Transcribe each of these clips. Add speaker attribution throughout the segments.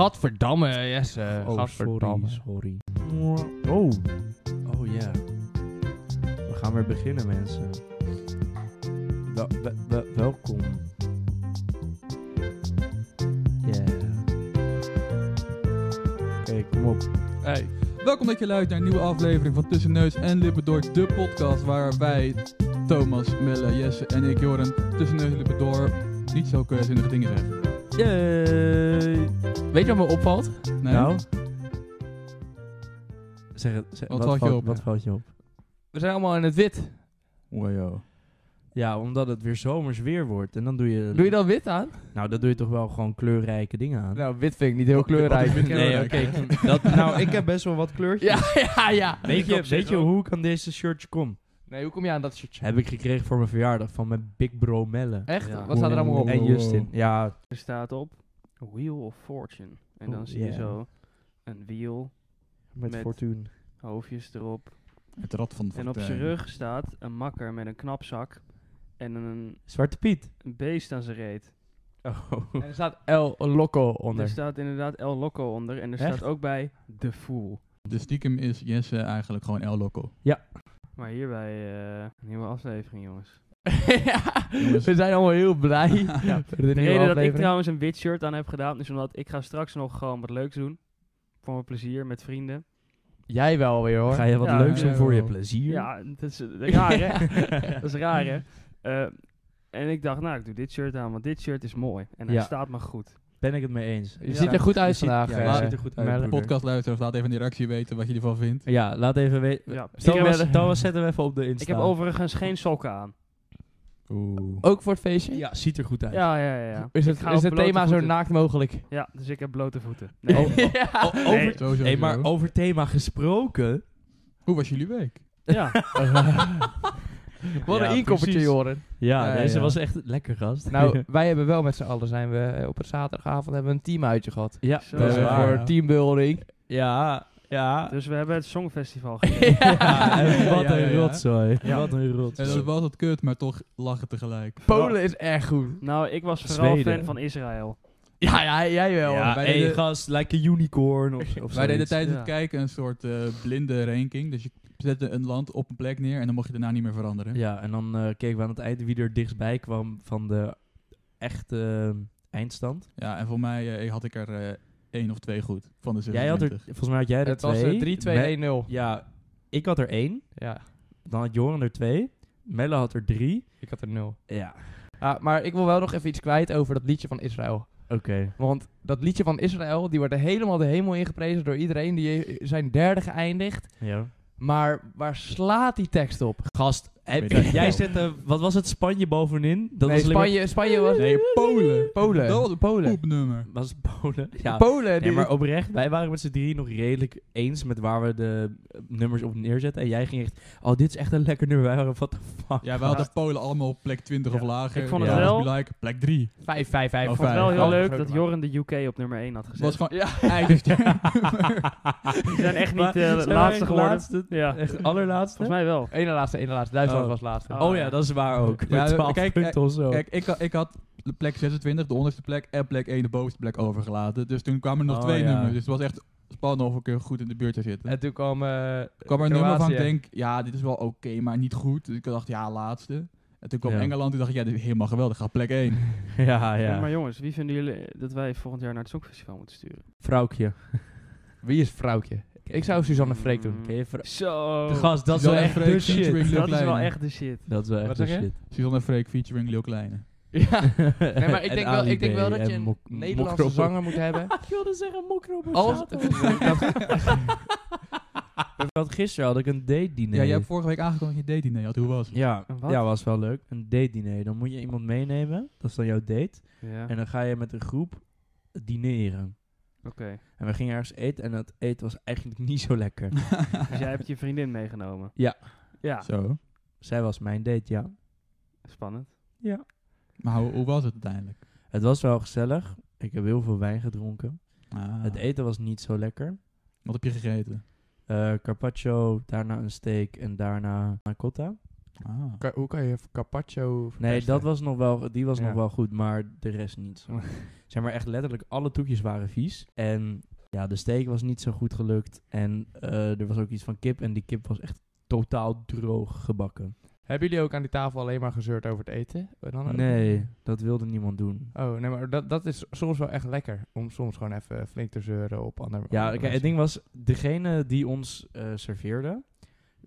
Speaker 1: Gadverdamme, yes. eh,
Speaker 2: oh, sorry,
Speaker 1: gadverdamme.
Speaker 2: sorry. Oh, oh ja. We gaan weer beginnen, mensen. Wel- wel- wel- welkom. Yeah. Oké, kom op.
Speaker 1: Hey.
Speaker 3: Welkom dat je luistert naar een nieuwe aflevering van Tussen Neus en Lippen Door, de podcast waar wij, Thomas, Melle, Jesse en ik, Joren, Tussen Neus en Lippen Door, niet zo keurzinnige dingen zeggen.
Speaker 2: Yay!
Speaker 1: Weet je wat me opvalt?
Speaker 3: Nee?
Speaker 2: Nou. Zeg het. Zeg,
Speaker 3: Wat valt je op,
Speaker 2: Wat
Speaker 3: ja?
Speaker 2: valt je op?
Speaker 1: We zijn allemaal in het wit.
Speaker 3: Wajo.
Speaker 2: Ja, omdat het weer zomers weer wordt. En dan doe je...
Speaker 1: Doe je dan wit aan?
Speaker 2: Nou, dan doe je toch wel gewoon kleurrijke dingen aan.
Speaker 1: Nou, wit vind ik niet heel
Speaker 3: Wat- wat is
Speaker 1: kleurrijk.
Speaker 3: wit
Speaker 2: nee,
Speaker 3: kleurrijk?
Speaker 2: oké. dat- nou, ik heb best wel wat kleurtjes.
Speaker 1: Ja, ja, ja.
Speaker 2: Weet je,
Speaker 1: Ik op zich
Speaker 2: weet je
Speaker 1: ook.
Speaker 2: hoe ik aan deze shirtje kom?
Speaker 1: Nee, hoe kom je aan dat shirtje?
Speaker 2: Heb ik gekregen voor mijn verjaardag van mijn Big Bro Melle.
Speaker 1: Echt?
Speaker 4: Ja.
Speaker 1: Wat staat er allemaal op?
Speaker 2: En Justin. Ja,
Speaker 4: Er staat op Wheel of Fortune. En dan
Speaker 2: Oeh,
Speaker 4: zie
Speaker 2: ja.
Speaker 4: je zo een wiel,
Speaker 2: met,
Speaker 4: Met-
Speaker 2: Fortuin.
Speaker 4: hoofdjes erop.
Speaker 3: Het rad van de
Speaker 4: En op zijn rug staat een makker met een knapzak en een,
Speaker 2: Zwarte Piet.
Speaker 4: een beest aan zijn reet.
Speaker 2: Oh.
Speaker 1: En er staat El Loco onder.
Speaker 4: Er staat inderdaad El Loco onder en er
Speaker 2: Echt?
Speaker 4: staat ook bij The Fool.
Speaker 3: De stiekem is Jesse eigenlijk gewoon El Loco.
Speaker 4: Maar hierbij eh, een nieuwe aflevering, jongens.
Speaker 1: ja,
Speaker 3: Jongens.
Speaker 1: we zijn allemaal heel blij.
Speaker 2: Ja.
Speaker 1: voor de
Speaker 4: De
Speaker 1: nieuwe
Speaker 4: reden dat ik
Speaker 1: aflevering.
Speaker 4: trouwens een wit shirt aan heb gedaan is omdat ik ga straks nog gewoon wat leuks doen. Voor mijn plezier, met vrienden.
Speaker 1: Jij wel weer hoor.
Speaker 2: Ga je wat
Speaker 4: Ja,
Speaker 2: leuks doen
Speaker 3: ja,
Speaker 2: voor je
Speaker 3: wel.
Speaker 2: plezier?
Speaker 4: Ja, dat is eh, raar, hè? dat is raar, hè? Eh, en ik dacht, nou, ik doe dit shirt aan, want dit shirt is mooi. En hij
Speaker 2: Ja.
Speaker 4: staat me goed.
Speaker 2: Ben ik het mee eens.
Speaker 1: Je
Speaker 2: Ja.
Speaker 1: ziet er goed uit
Speaker 2: Je ziet-
Speaker 1: vandaag.
Speaker 2: ja, je
Speaker 1: eh,
Speaker 2: ziet er goed uit,
Speaker 1: Merle.
Speaker 2: broer.
Speaker 3: Podcastluisteraars, laat even in de reactie weten wat je ervan vindt.
Speaker 2: Ja, laat even weten.
Speaker 4: Ja. Ik, heb,
Speaker 2: Thomas, Thomas, zet hem even op de Insta.
Speaker 4: ik heb overigens geen sokken aan.
Speaker 3: Oeh.
Speaker 1: Ook voor het feestje?
Speaker 2: Oh, Ja, ziet er goed uit.
Speaker 4: Ja, ja, ja. ja.
Speaker 1: Is
Speaker 4: Ik
Speaker 1: het,
Speaker 4: ga
Speaker 1: is
Speaker 4: op
Speaker 1: het
Speaker 4: blote
Speaker 1: thema zo
Speaker 4: voeten.
Speaker 1: naakt mogelijk?
Speaker 4: Ja, dus ik heb blote voeten.
Speaker 2: Oh,
Speaker 4: Nee.
Speaker 2: oh, oh,
Speaker 1: Ja.
Speaker 2: over,
Speaker 4: Nee.
Speaker 3: Sowieso.
Speaker 2: hey, maar oh- over thema gesproken.
Speaker 3: Hoe was jullie week?
Speaker 4: Ja.
Speaker 1: Wat
Speaker 2: oh. Ja,
Speaker 1: een inkoppertje,
Speaker 2: precies.
Speaker 1: Joren.
Speaker 2: Ja,
Speaker 1: Ja,
Speaker 2: deze
Speaker 1: ja.
Speaker 2: was echt lekker, gast.
Speaker 1: Nou, wij hebben wel met z'n allen zijn we eh, op een zaterdagavond hebben we een teamuitje gehad.
Speaker 2: ja,
Speaker 4: Zo.
Speaker 2: dat is
Speaker 1: Eh,
Speaker 2: waar.
Speaker 1: Voor teambuilding.
Speaker 2: Ja, ja.
Speaker 4: Dus we hebben het Songfestival gedaan.
Speaker 2: Ja, en wat
Speaker 3: Ja, ja,
Speaker 2: een
Speaker 3: ja.
Speaker 2: rotzooi. Wat een
Speaker 3: En Eh, dat
Speaker 2: rotzooi.
Speaker 3: was het kut, maar toch lachen tegelijk.
Speaker 1: Polen is echt goed.
Speaker 4: Nou, ik was vooral
Speaker 2: Zweden.
Speaker 4: fan van Israël.
Speaker 1: Ja, ja jij wel.
Speaker 2: Ja,
Speaker 3: wij
Speaker 2: één
Speaker 3: deden-
Speaker 2: gast, like a unicorn of, of
Speaker 3: Wij deden
Speaker 2: zoiets.
Speaker 3: tijdens het
Speaker 4: ja.
Speaker 3: kijken een soort eh, blinde ranking. Dus je zette een land op een plek neer en dan mocht je daarna niet meer veranderen.
Speaker 2: Ja, en dan eh, keken we aan het eind wie er dichtstbij kwam van de echte eh, eindstand.
Speaker 3: Ja, en voor mij eh, had ik er eh, één of twee goed van de
Speaker 2: Jij had er,
Speaker 3: 27.
Speaker 2: volgens mij had jij er
Speaker 1: Het was
Speaker 2: twee.
Speaker 1: eh, 3-2-1-0.
Speaker 2: Me- Ja, ik had er één.
Speaker 1: Ja,
Speaker 2: Dan had Joran er twee. Melle had er drie.
Speaker 1: ik had er 0.
Speaker 2: Ja,
Speaker 1: Ah, maar ik wil wel nog even iets kwijt over dat liedje van Israël.
Speaker 2: oké.
Speaker 1: Want dat liedje van Israël, die wordt er helemaal de hemel ingeprezen door iedereen die eh, zijn derde geëindigd.
Speaker 2: Ja.
Speaker 1: Maar waar slaat die tekst op?
Speaker 2: Gast, heb-
Speaker 3: Weet ik
Speaker 2: jij
Speaker 3: wel.
Speaker 2: zette, wat was het, Spanje bovenin? Dat
Speaker 1: nee,
Speaker 2: was alleen maar-
Speaker 1: Spanje, Spanje was...
Speaker 3: Nee, Polen.
Speaker 1: Polen.
Speaker 3: Dat was een
Speaker 1: Polen.
Speaker 3: poepnummer.
Speaker 2: Was het Polen? Ja,
Speaker 1: Polen.
Speaker 2: Nee,
Speaker 1: Die
Speaker 2: maar oprecht, wij waren met z'n drie nog redelijk eens met waar we de eh, nummers op neerzetten. En jij ging echt, oh, dit is echt een lekker nummer. Wij waren, what the fuck.
Speaker 3: Ja, wij hadden Polen allemaal op plek 20 of
Speaker 2: Ja.
Speaker 3: lager.
Speaker 4: Ik vond het
Speaker 3: Ja.
Speaker 4: wel-
Speaker 3: Ons Like, plek 3.
Speaker 1: 5-5-5. Oh,
Speaker 4: Ik vond het wel heel
Speaker 3: Oh,
Speaker 4: leuk
Speaker 1: grote
Speaker 4: dat
Speaker 1: man.
Speaker 4: Joren de UK op nummer 1 had
Speaker 3: was
Speaker 4: gezet.
Speaker 3: gewoon
Speaker 1: Ja.
Speaker 3: eigenlijk...
Speaker 4: Die zijn echt niet
Speaker 2: Maar-
Speaker 4: eh,
Speaker 2: zijn wij
Speaker 4: laatste
Speaker 2: echt
Speaker 4: geworden.
Speaker 2: laatste?
Speaker 4: Ja,
Speaker 2: Echt allerlaatste?
Speaker 4: volgens mij wel.
Speaker 1: Ene laatste, ene laatste. Duitsland
Speaker 2: Oh.
Speaker 1: was laatste.
Speaker 4: Oh.
Speaker 2: Oh ja, dat is waar ook.
Speaker 3: Ja,
Speaker 2: met
Speaker 3: we-
Speaker 2: 12
Speaker 3: kijk,
Speaker 2: punten of zo.
Speaker 3: Kijk, ik, ha- ik had de plek 26, de onderste plek, en plek 1, de bovenste plek overgelaten. Dus toen kwamen er nog
Speaker 2: Oh,
Speaker 3: twee
Speaker 2: ja.
Speaker 3: nummers. Dus het was echt spannend of ik er goed in de buurt zou zitten.
Speaker 1: En toen kwam... eh,
Speaker 3: kwam er een nummer van, ik
Speaker 1: Kroatië.
Speaker 3: denk, ja, dit is wel oké, maar niet goed. Dus ik dacht, ja, laatste. En toen kwam
Speaker 2: Ja.
Speaker 3: Engeland, toen dacht ik, ja, dit is helemaal geweldig, ga plek 1.
Speaker 2: Ah, ja,
Speaker 4: Ja, Maar
Speaker 2: ja.
Speaker 4: jongens, wie vinden jullie eh, dat wij volgend jaar naar het Songfestival moeten sturen?
Speaker 2: Vrouwkje.
Speaker 1: Wie is vrouwtje? Ik zou Oh, Suzanne Freek doen.
Speaker 4: Mm.
Speaker 2: Ken je vrou-
Speaker 4: Zo.
Speaker 2: Gast, dat is
Speaker 3: Suzanne
Speaker 2: wel echt
Speaker 3: Freek
Speaker 2: de
Speaker 3: featuring
Speaker 2: shit.
Speaker 3: Lil
Speaker 4: Dat is wel
Speaker 3: Kleine.
Speaker 4: echt de shit.
Speaker 2: Dat is wel echt
Speaker 1: Wat
Speaker 2: de
Speaker 1: zeg je?
Speaker 2: shit.
Speaker 3: Suzanne Freek featuring Lil Kleine.
Speaker 1: Ja. Nee, maar ik denk, wel, ik denk wel dat je een Nederlandse zanger moet hebben.
Speaker 2: Ik wilde zeggen mokro
Speaker 1: Als,
Speaker 2: Gisteren had ik een date diner.
Speaker 3: Ja, jij hebt vorige week aangekondigd dat je date nee had. Hoe was het?
Speaker 2: Ja,
Speaker 4: Een wat?
Speaker 2: ja, was wel leuk. Een date diner. Dan moet je iemand meenemen. Dat is dan jouw date.
Speaker 4: Ja,
Speaker 2: En dan ga je met een groep dineren.
Speaker 4: oké.
Speaker 2: En we gingen ergens eten en dat eten was eigenlijk niet zo lekker.
Speaker 4: Dus jij hebt je vriendin meegenomen.
Speaker 2: Ja.
Speaker 4: Ja,
Speaker 3: Zo.
Speaker 2: Zij was mijn date, ja.
Speaker 4: spannend.
Speaker 3: Maar hoe, hoe was het uiteindelijk?
Speaker 2: Het was wel gezellig. Ik heb heel veel wijn gedronken.
Speaker 3: Ah,
Speaker 2: Het eten was niet zo lekker.
Speaker 3: Wat heb je gegeten?
Speaker 2: Eh carpaccio, daarna een steak en daarna een cotta.
Speaker 3: Ah.
Speaker 1: Ka- hoe kan je carpaccio
Speaker 2: Nee,
Speaker 1: verpesten?
Speaker 2: dat was nog wel, die was
Speaker 4: Ja.
Speaker 2: nog wel goed, maar de rest niet. Zo. zeg maar echt letterlijk, alle toekjes waren vies. En ja, de steak was niet zo goed gelukt. En eh, er was ook iets van kip. En die kip was echt totaal droog gebakken.
Speaker 1: Hebben jullie ook aan die tafel alleen maar gezeurd over het eten? Eh, dan ook?
Speaker 2: Nee, dat wilde niemand doen.
Speaker 1: Oh, nee, maar dat, dat is soms wel echt lekker. Om soms gewoon even flink te zeuren op andere
Speaker 2: Ja,
Speaker 1: andere
Speaker 2: kijk,
Speaker 1: mensen.
Speaker 2: het ding was, degene die ons eh, serveerde,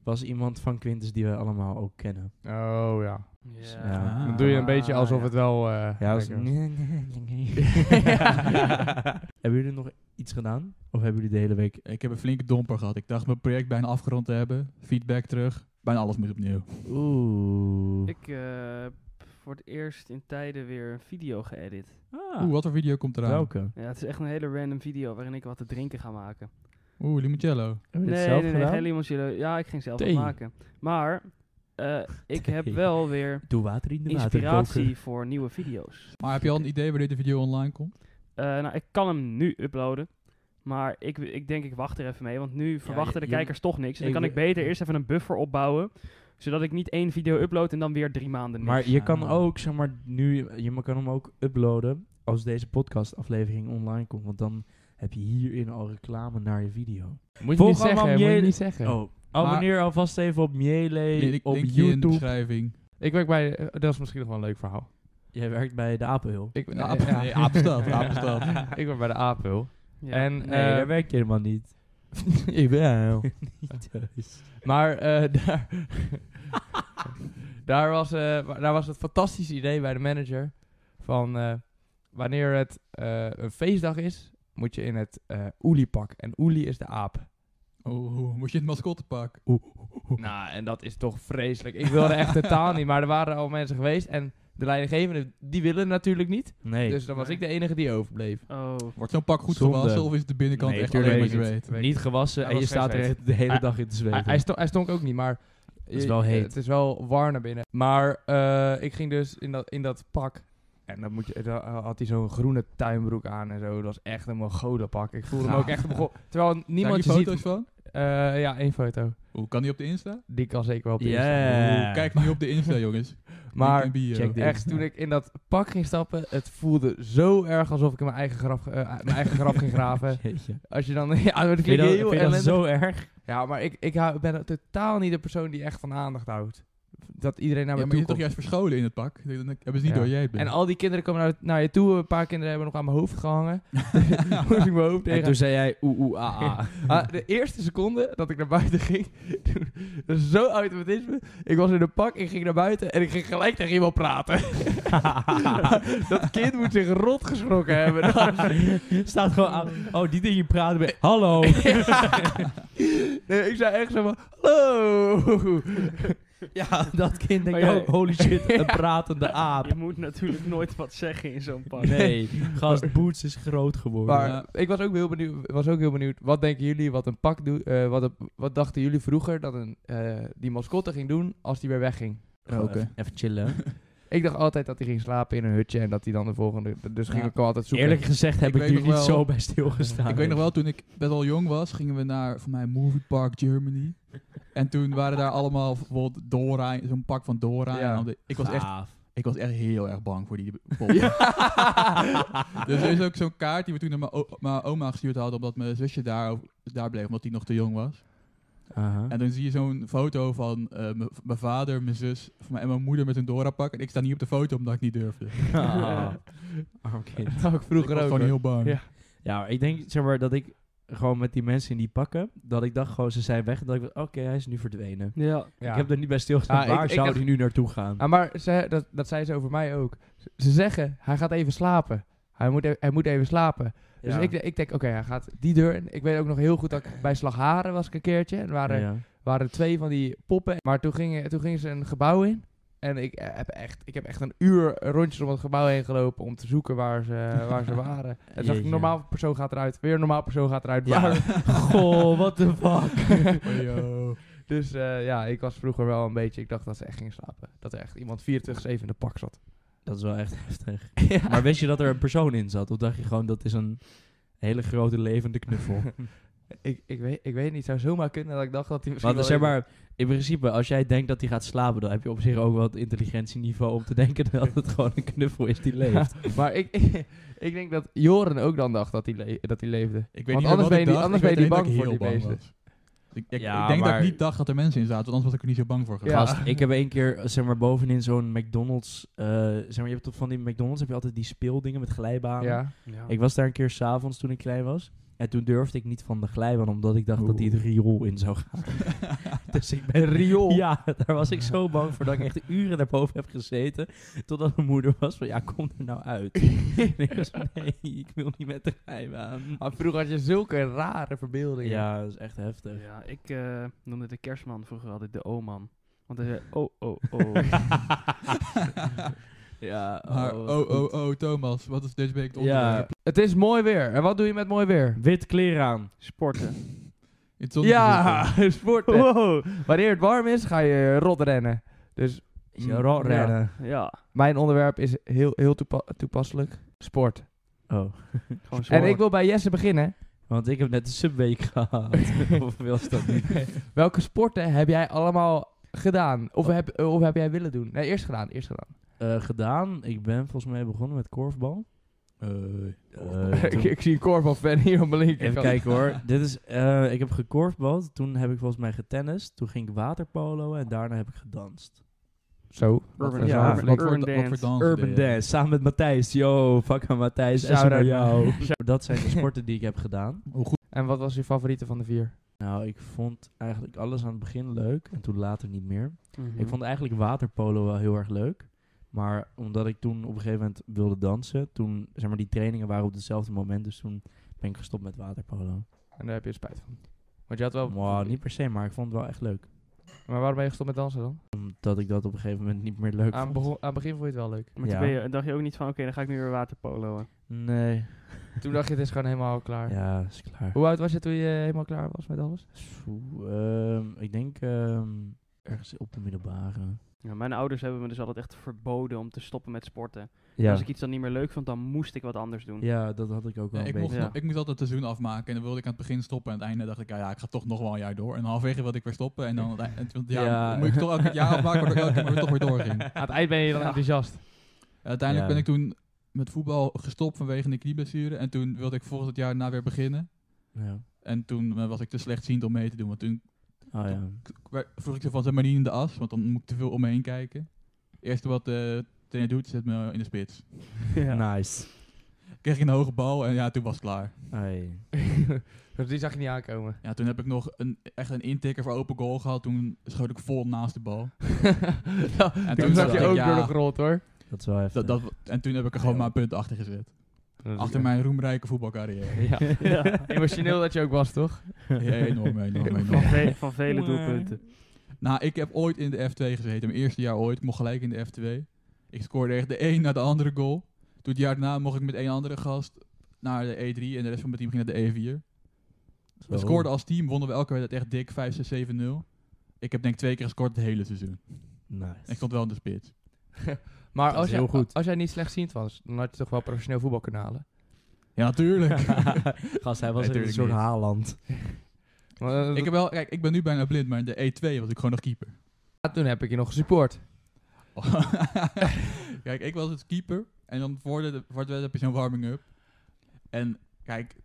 Speaker 2: was iemand van Quintus die wij allemaal ook kennen.
Speaker 1: Oh, ja. Ah.
Speaker 4: Ja.
Speaker 2: Ja. Ah,
Speaker 1: Dan doe je een beetje alsof
Speaker 4: ja.
Speaker 1: het wel... eh,
Speaker 2: Ja, was...
Speaker 1: lekker was.
Speaker 2: Hebben jullie nog iets gedaan? Of hebben jullie de hele week...
Speaker 3: Ik heb een flinke domper gehad. Ik dacht mijn project bijna afgerond te hebben. Feedback terug. Bijna alles moet opnieuw.
Speaker 2: Oeh.
Speaker 4: Ik eh, heb voor het eerst in tijden weer een video geëdit.
Speaker 2: Ah,
Speaker 3: Oeh, wat voor video komt eraan?
Speaker 2: welke?
Speaker 4: Ja, het is echt een hele random video waarin ik wat te drinken ga maken.
Speaker 3: Oeh, limoncello.
Speaker 2: Heb je dit
Speaker 4: nee,
Speaker 2: zelf
Speaker 4: nee, nee,
Speaker 2: gedaan?
Speaker 4: geen limoncillo. Ja, ik ging zelf wat
Speaker 1: Thee.
Speaker 4: maken. Maar eh, ik heb
Speaker 2: Thee.
Speaker 4: wel weer
Speaker 2: Doe water in de
Speaker 4: inspiratie voor nieuwe video's.
Speaker 3: Maar heb je al een idee wanneer de video online komt?
Speaker 4: Eh, nou, ik kan hem nu uploaden. Maar ik, ik denk, ik wacht er even mee. Want nu verwachten
Speaker 2: je-
Speaker 4: de
Speaker 2: je-
Speaker 4: kijkers toch niks. En dan
Speaker 2: ik
Speaker 4: kan ik
Speaker 2: wil-
Speaker 4: beter eerst even een buffer opbouwen. Zodat ik niet één video upload en dan weer drie maanden niks.
Speaker 2: Maar je kan
Speaker 3: Ah.
Speaker 2: ook, zeg maar, nu... Je kan hem ook uploaden als deze podcast aflevering online komt. Want dan heb je hierin al reclame naar je video.
Speaker 1: Moet je
Speaker 2: Volg
Speaker 1: niet
Speaker 2: allemaal
Speaker 1: zeggen, moet je
Speaker 2: Miele-
Speaker 1: niet zeggen.
Speaker 2: Oh, abonneer alvast even op Miele
Speaker 3: ik
Speaker 2: op
Speaker 3: link je in de
Speaker 2: YouTube.
Speaker 3: beschrijving.
Speaker 1: Ik werk bij... eh, dat is misschien nog wel een leuk verhaal.
Speaker 2: Jij werkt bij de Apenhul.
Speaker 1: Ik,
Speaker 3: De aap- nee, Apenstad, Apenstad.
Speaker 1: ik werk bij de Apel.
Speaker 4: Ja.
Speaker 1: En,
Speaker 2: Nee,
Speaker 1: eh,
Speaker 2: daar werk je helemaal niet.
Speaker 1: ik ben
Speaker 2: Niet thuis.
Speaker 1: Maar eh, daar, daar, was, eh, wa- daar was het fantastische idee bij de manager van eh, wanneer het eh, een feestdag is, moet je in het eh Oeliepak. En Oelie is de aap.
Speaker 3: Oh, moet je in het mascottepak?
Speaker 1: Nou, en dat is toch vreselijk. Ik wilde echt totaal niet, maar er waren al mensen geweest en de leidinggevende, die willen natuurlijk niet.
Speaker 2: Nee,
Speaker 1: Dus dan was ik de enige die overbleef.
Speaker 4: Oh,
Speaker 3: Wordt zo'n pak goed
Speaker 2: Zonde.
Speaker 3: gewassen of is de binnenkant
Speaker 2: Nee,
Speaker 3: echt
Speaker 2: tuurlijk
Speaker 3: alleen maar
Speaker 2: niet.
Speaker 3: zweet?
Speaker 1: Weet-
Speaker 2: niet gewassen
Speaker 1: Hij
Speaker 2: en je
Speaker 1: was geen
Speaker 2: staat
Speaker 1: zweet.
Speaker 2: er de hele
Speaker 1: Hij-
Speaker 2: dag in te
Speaker 1: Hij,
Speaker 2: zweten.
Speaker 1: hij, stonk, hij stonk ook niet, maar...
Speaker 2: is wel heet.
Speaker 1: Het is wel warm naar binnen. Maar eh, ik ging dus in dat, in dat pak. En dan, moet je, dan had hij zo'n groene tuinbroek aan en zo. Dat was echt een Mongolenpak. Ik voelde hem ook echt... begon- Terwijl
Speaker 3: Zijn
Speaker 1: niemand
Speaker 3: hier
Speaker 1: je
Speaker 3: foto's
Speaker 1: ziet...
Speaker 3: van?
Speaker 1: Eh, ja, één foto.
Speaker 3: Oeh, kan die op de Insta?
Speaker 1: Die kan zeker wel op de
Speaker 2: Ja.
Speaker 1: Instagram.
Speaker 2: Eh.
Speaker 3: Oeh, kijk nu op de Insta, jongens.
Speaker 1: Maar
Speaker 3: Link in bio.
Speaker 2: check dit.
Speaker 1: Echt, toen ik in dat pak ging stappen, het voelde zo erg alsof ik in mijn eigen graf, eh, mijn eigen graf ging graven.
Speaker 2: Jeetje.
Speaker 1: Als je dan... Ja, dat
Speaker 2: Vind je
Speaker 1: klinkt
Speaker 2: dat,
Speaker 1: heel
Speaker 2: vind je dat
Speaker 1: ellendig.
Speaker 2: zo erg?
Speaker 1: Ja, maar ik, ik hou- ben totaal niet de persoon die echt van aandacht houdt. Dat iedereen naar
Speaker 3: Ja,
Speaker 1: me
Speaker 3: maar je
Speaker 1: toe
Speaker 3: zit toch
Speaker 1: komt.
Speaker 3: juist verscholen in het pak? Ik denk, Dan hebben ze niet
Speaker 1: Ja.
Speaker 3: door jij het bent.
Speaker 1: En al die kinderen komen naar, naar je toe. Een paar kinderen hebben nog aan mijn hoofd gehangen. Moest ik mijn hoofd
Speaker 2: En
Speaker 1: tegen.
Speaker 2: toen zei jij oeh oeh ah ah.
Speaker 1: Ah, de eerste seconde dat ik naar buiten ging, toen- dat is zo automatisme. Ik was in een pak, ik ging naar buiten en ik ging gelijk tegen iemand praten. dat kind moet zich rot geschrokken hebben.
Speaker 2: Staat gewoon aan. Oh, die dingen praten bij. Hallo.
Speaker 1: nee, ik zei echt zo van, hallo.
Speaker 2: Oh, ja, dat kind denkt
Speaker 4: Maar jij-
Speaker 2: ook, holy shit, een pratende aap.
Speaker 4: je moet natuurlijk nooit wat zeggen in zo'n pak.
Speaker 2: Nee, gast Boots is groot geworden.
Speaker 1: Maar
Speaker 3: Ja.
Speaker 1: ik was ook, heel benieuwd, was ook heel benieuwd. Wat denken jullie wat een pak doet? eh, wat, een- wat dachten jullie vroeger dat een, eh, die mascotte ging doen als die weer wegging?
Speaker 2: Gewoon
Speaker 3: Roken.
Speaker 2: Even, even chillen.
Speaker 1: Ik dacht altijd dat hij ging slapen in een hutje en dat hij dan de volgende. Dus ging
Speaker 3: Ja.
Speaker 1: ik al altijd zoeken.
Speaker 2: Eerlijk gezegd heb
Speaker 3: Ik
Speaker 2: ik,
Speaker 3: weet
Speaker 2: hier
Speaker 3: nog
Speaker 2: niet
Speaker 3: wel-
Speaker 2: zo bij stilgestaan.
Speaker 3: Ik weet nog wel, toen ik best wel jong was, gingen we naar, voor mij, Movie Park Germany. En toen waren daar allemaal bijvoorbeeld Dora, zo'n pak van Dora.
Speaker 1: Ja. Ah.
Speaker 3: En dan de- ik, was echt,
Speaker 2: Gaaf.
Speaker 3: ik was echt heel erg bang voor die pop. Dus er is ook zo'n kaart die we toen naar mijn o- mijn oma gestuurd hadden, omdat mijn zusje daar, daar bleef, omdat die nog te jong was.
Speaker 2: Aha.
Speaker 3: En dan zie je zo'n foto van eh, mijn- mijn vader, mijn zus van mij en mijn moeder met een Dora-pak. En ik sta niet op de foto omdat ik niet durfde.
Speaker 2: Ah, arm kind.
Speaker 1: Dat had ik
Speaker 3: Ik was
Speaker 1: vroeger ook.
Speaker 3: gewoon
Speaker 1: hoor.
Speaker 3: heel bang.
Speaker 1: Ja.
Speaker 2: Ja, maar ik denk zeg maar dat ik gewoon met die mensen in die pakken, dat ik dacht gewoon ze zijn weg. Dat ik dacht, oké, hij is nu verdwenen.
Speaker 4: Ja.
Speaker 1: Ja.
Speaker 2: Ik heb er niet bij stilgestaan.
Speaker 1: Ah, ik-
Speaker 2: Waar
Speaker 1: ik
Speaker 2: zou
Speaker 1: heb-
Speaker 2: hij nu naartoe gaan?
Speaker 1: Ah, maar ze, dat, dat zei ze over mij ook. Z- Ze zeggen, hij gaat even slapen. Hij moet, e- hij moet even slapen. Dus
Speaker 2: Ja.
Speaker 1: ik, ik denk, oké, hij gaat die deur in. Ik weet ook nog heel goed dat ik bij Slagharen was ik een keertje. En er waren,
Speaker 2: Ja.
Speaker 1: waren twee van die poppen. Maar toen gingen, toen gingen ze een gebouw in. En ik eh, heb, echt, ik heb echt een uur rondjes om het gebouw heen gelopen om te zoeken waar ze, waar ze waren. En toen dacht ik,
Speaker 2: Jeetje.
Speaker 1: een normaal persoon gaat eruit. Weer een normaal persoon gaat eruit.
Speaker 2: Ja.
Speaker 1: Waar-
Speaker 2: Goh, what the fuck.
Speaker 3: Oh, yo.
Speaker 1: Dus eh, ja, ik was vroeger wel een beetje... Ik dacht dat ze echt ging slapen. Dat er echt iemand 24-7 in de pak zat.
Speaker 2: Dat is wel echt heftig. Maar wist je dat er een persoon in zat? Of dacht je gewoon dat is een hele grote levende knuffel? eh,
Speaker 1: Ik, ik, weet, ik weet niet, zou zomaar kunnen dat ik dacht dat hij misschien
Speaker 2: Want
Speaker 1: wel
Speaker 2: zeg maar, in principe, als jij denkt dat hij gaat slapen, dan heb je op zich ook wel het intelligentieniveau om te denken dat het gewoon een knuffel is die leeft.
Speaker 1: even- Maar ik, ik denk dat Joren ook dan dacht dat hij, le- dat hij leefde.
Speaker 3: Ik
Speaker 1: Want anders ben je niet- anders ben je niet bang voor die beesten.
Speaker 3: Ik, ik,
Speaker 2: Ja,
Speaker 3: ik denk dat
Speaker 2: maar-
Speaker 3: ik niet dacht dat er mensen in zaten, want anders was ik er niet zo bang voor geweest.
Speaker 1: Ja.
Speaker 2: Gast, ik heb één keer, zeg maar, bovenin zo'n McDonald's, eh, zeg maar, je hebt toch van die McDonald's heb je altijd die speeldingen met glijbanen.
Speaker 1: Ja.
Speaker 4: Ja.
Speaker 2: Ik was daar een keer s'avonds toen ik klein was. En toen durfde ik niet van de glijbaan, omdat ik dacht dat
Speaker 3: Oeh.
Speaker 2: die het riool in zou gaan. dus ik ben...
Speaker 1: riool.
Speaker 2: Ja, daar was ik zo bang voor dat ik echt uren daarboven heb gezeten. Totdat mijn moeder was van, ja, kom er nou uit. en ik was van, nee, ik wil niet met de glijbaan.
Speaker 1: Maar vroeger had je zulke rare verbeeldingen.
Speaker 2: Ja, dat is echt heftig.
Speaker 4: Ja, ik eh, noemde de kerstman vroeger altijd de O-man. Want hij zei, oh, oh, oh.
Speaker 2: ja,
Speaker 3: Maar oh, oh, oh, Thomas, wat is deze week het
Speaker 2: Ja,
Speaker 3: onderwerp?
Speaker 1: Het is mooi weer. En wat doe je met mooi weer?
Speaker 2: wit kleren aan.
Speaker 4: Sporten.
Speaker 3: In het zonnetje
Speaker 1: Ja,
Speaker 3: zitten.
Speaker 1: sport. Wanneer het warm is, ga je rot rennen. Dus
Speaker 2: Je rot rennen.
Speaker 4: Ja,
Speaker 1: mijn onderwerp is heel, heel toepa- toepasselijk. Sport.
Speaker 2: Oh,
Speaker 4: gewoon sport.
Speaker 1: En ik wil bij Jesse beginnen.
Speaker 2: want ik heb net een subweek gehad. of was dat niet?
Speaker 1: Welke sporten heb jij allemaal gedaan? Of heb, of heb jij willen doen? Nee, eerst gedaan, eerst gedaan.
Speaker 2: Eh, gedaan. Ik ben volgens mij begonnen met korfbal. Eh,
Speaker 1: ik,
Speaker 2: toen-
Speaker 1: ik zie een korfbalfan hier op mijn linkerkant.
Speaker 2: Even kijken hoor. Dit is, eh, ik heb gekorfbald. Toen heb ik volgens mij getennist. Toen ging ik waterpolo. En daarna heb ik gedanst.
Speaker 1: Zo.
Speaker 3: Wat voor
Speaker 4: Urban-
Speaker 1: ja,
Speaker 3: dansen- wat voor-
Speaker 4: urban
Speaker 3: wat voor
Speaker 4: dance.
Speaker 3: dansen
Speaker 2: Urban
Speaker 3: deed je?
Speaker 2: dance. Samen met Matthijs. Yo, fuck aan Matthijs. En
Speaker 1: Shout-out
Speaker 2: naar jou.
Speaker 4: Oh.
Speaker 2: Dat zijn de sporten die ik heb gedaan.
Speaker 3: Hoe goed
Speaker 1: En wat was je favoriete van de vier?
Speaker 2: Nou, ik vond eigenlijk alles aan het begin leuk. En toen later niet meer.
Speaker 4: Mhm.
Speaker 2: Ik vond eigenlijk waterpolo wel heel erg leuk. Maar omdat ik toen op een gegeven moment wilde dansen, toen, zeg maar, die trainingen waren op hetzelfde moment. Dus toen ben ik gestopt met waterpolo.
Speaker 1: En daar heb je spijt van. Want je had wel...
Speaker 2: Maar niet per se, maar ik vond het wel echt leuk.
Speaker 1: Maar waarom ben je gestopt met dansen dan?
Speaker 2: Omdat ik dat op een gegeven moment niet meer leuk
Speaker 1: Aan,
Speaker 2: vond.
Speaker 1: begon- aan het begin vond je het wel leuk.
Speaker 4: Maar toen
Speaker 2: Ja.
Speaker 4: ben je, dacht je ook niet van, oké, dan ga ik nu weer waterpoloen.
Speaker 2: Nee.
Speaker 1: Toen dacht je, het is gewoon helemaal klaar.
Speaker 2: Ja, is klaar.
Speaker 1: Hoe oud was je toen je helemaal klaar was met alles?
Speaker 2: Oeh, ehm, ik denk ehm, ergens op de middelbare.
Speaker 4: Ja, mijn ouders hebben me dus altijd echt verboden om te stoppen met sporten.
Speaker 2: Ja,
Speaker 4: Als ik iets dan niet meer leuk vond, dan moest ik wat anders doen.
Speaker 2: ja dat had ik ook wel
Speaker 3: Ja,
Speaker 2: een
Speaker 3: ik,
Speaker 2: beetje.
Speaker 3: mocht,
Speaker 4: Ja.
Speaker 3: nog- ik moest altijd het seizoen afmaken en dan wilde ik aan het begin stoppen. En aan het einde dacht ik, ja, ja, ik ga toch nog wel een jaar door. En halverwege wilde ik weer stoppen. En dan aan het eind- en toen- ja,
Speaker 2: Ja.
Speaker 3: moet ik toch elk jaar afmaken, waardoor ik elke keer maar weer toch weer doorging.
Speaker 1: Aan het eind ben je dan enthousiast.
Speaker 3: En uiteindelijk
Speaker 2: Ja.
Speaker 3: ben ik toen met voetbal gestopt vanwege een knieblessure. En toen wilde ik volgend jaar na weer beginnen.
Speaker 2: Ja.
Speaker 3: En toen eh, was ik te slechtziend om mee te doen. Want toen
Speaker 2: Oh ja.
Speaker 3: k- werd- vroeg ik ze van, zet maar niet in de as. Want dan moet ik te veel om me heen kijken. Eerst wat de trainer doet, zet me in de spits.
Speaker 2: Nice.
Speaker 3: Kreeg ik een hoge bal en ja, toen was het klaar.
Speaker 2: Hey.
Speaker 1: dus die zag je niet aankomen.
Speaker 3: Ja, toen heb ik nog een, echt een intikker voor open goal gehad. Toen schoot ik vol naast de bal.
Speaker 1: en toen zag
Speaker 3: toen dacht
Speaker 1: je
Speaker 3: ik,
Speaker 1: ook
Speaker 3: ja.
Speaker 1: door de grond hoor.
Speaker 2: Dat is wel heftig.
Speaker 3: Dat, dat, en toen heb ik er gewoon maar een punt achter gezet. Achter mijn roemrijke voetbalcarrière.
Speaker 1: Ja.
Speaker 4: Ja.
Speaker 1: Emotioneel dat je ook was, toch?
Speaker 3: Ja, enorm, enorm,
Speaker 4: Van,
Speaker 3: enorm.
Speaker 4: ve- van vele doelpunten.
Speaker 3: Nou, ik heb ooit in de F2 gezeten. Mijn eerste jaar ooit. Ik mocht gelijk in de F2. Ik scoorde echt de een naar de andere goal. Toen het jaar daarna mocht ik met één andere gast naar de E3. En de rest van mijn team ging naar de E4.
Speaker 2: Zo.
Speaker 3: We scoorden als team. Wonnen we elke wedstrijd echt dik 5, 6, 7, 0. Ik heb denk ik twee keer gescoord het hele seizoen. En
Speaker 2: Nice.
Speaker 3: ik stond wel in de spits.
Speaker 1: Maar
Speaker 2: Dat is
Speaker 1: als, jij,
Speaker 2: heel goed.
Speaker 1: als jij niet slechtziend was, dan had je toch wel professioneel voetbal kunnen halen.
Speaker 3: Ja, natuurlijk.
Speaker 2: Gast, hij
Speaker 3: Nee,
Speaker 2: was echt een
Speaker 3: tuurlijk
Speaker 2: soort
Speaker 3: niet.
Speaker 2: Haaland.
Speaker 1: Maar, eh,
Speaker 3: ik, heb wel, kijk, ik ben nu bijna blind, maar in de E2 was ik gewoon nog keeper.
Speaker 1: Toen heb ik je nog gesupport.
Speaker 3: kijk, ik was het keeper. En dan voor de, voor de wedstrijd heb je zo'n warming-up. En kijk,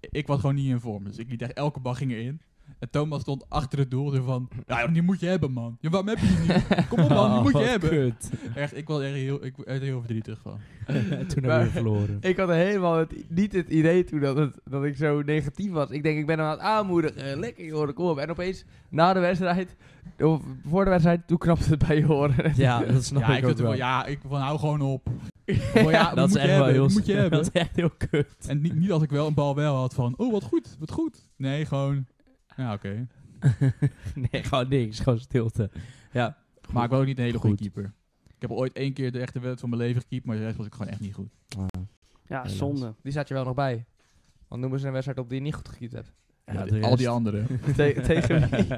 Speaker 3: ik was gewoon niet in vorm. Dus ik liet echt elke bal ging erin. En Thomas stond achter het doel. Zo van, ja, die moet je hebben, man. Ja, waarom heb je die niet? Kom op, man, die moet je
Speaker 2: Oh,
Speaker 3: hebben.
Speaker 2: kut.
Speaker 3: Echt, ik was er heel, ik werd er heel verdrietig van.
Speaker 2: Toen
Speaker 1: Maar-
Speaker 2: hebben we verloren.
Speaker 1: Ik had helemaal het, niet het idee toen dat, het, dat ik zo negatief was. Ik denk, ik ben hem aan het aanmoedigen. Lekker joh, kom op. En opeens, na de wedstrijd, of voor de wedstrijd, toen knapte het bij je horen.
Speaker 2: Ja, dat snap
Speaker 3: Ja,
Speaker 2: ik,
Speaker 3: ik,
Speaker 2: ook
Speaker 3: zat er
Speaker 2: wel.
Speaker 3: van, ja, ik van, hou gewoon op. Van, ja,
Speaker 2: dat is
Speaker 3: moet
Speaker 2: echt
Speaker 3: je
Speaker 2: wel
Speaker 3: hebben,
Speaker 2: heel
Speaker 3: die moet je
Speaker 2: sneu.
Speaker 3: hebben.
Speaker 2: Dat is echt heel kut.
Speaker 3: En niet, niet als ik wel een bal wel had van, oh, wat goed, wat goed. Nee, gewoon, ja, oké.
Speaker 2: nee, gewoon niks. Gewoon stilte. Ja.
Speaker 3: Maar ik was ook niet een hele goede
Speaker 2: Goed.
Speaker 3: keeper. Ik heb ooit één keer de echte wedstrijd van mijn leven gekiept, maar de rest was ik gewoon echt niet goed.
Speaker 2: Ah.
Speaker 4: Ja,
Speaker 2: Helaas.
Speaker 4: zonde.
Speaker 1: Die zat je wel nog bij. Want noemen ze een wedstrijd op die je niet goed gekiept hebt.
Speaker 2: Ja,
Speaker 3: Ja,
Speaker 2: de
Speaker 3: al die
Speaker 2: rest-
Speaker 3: anderen.
Speaker 1: Te- tegen wie?
Speaker 4: Ik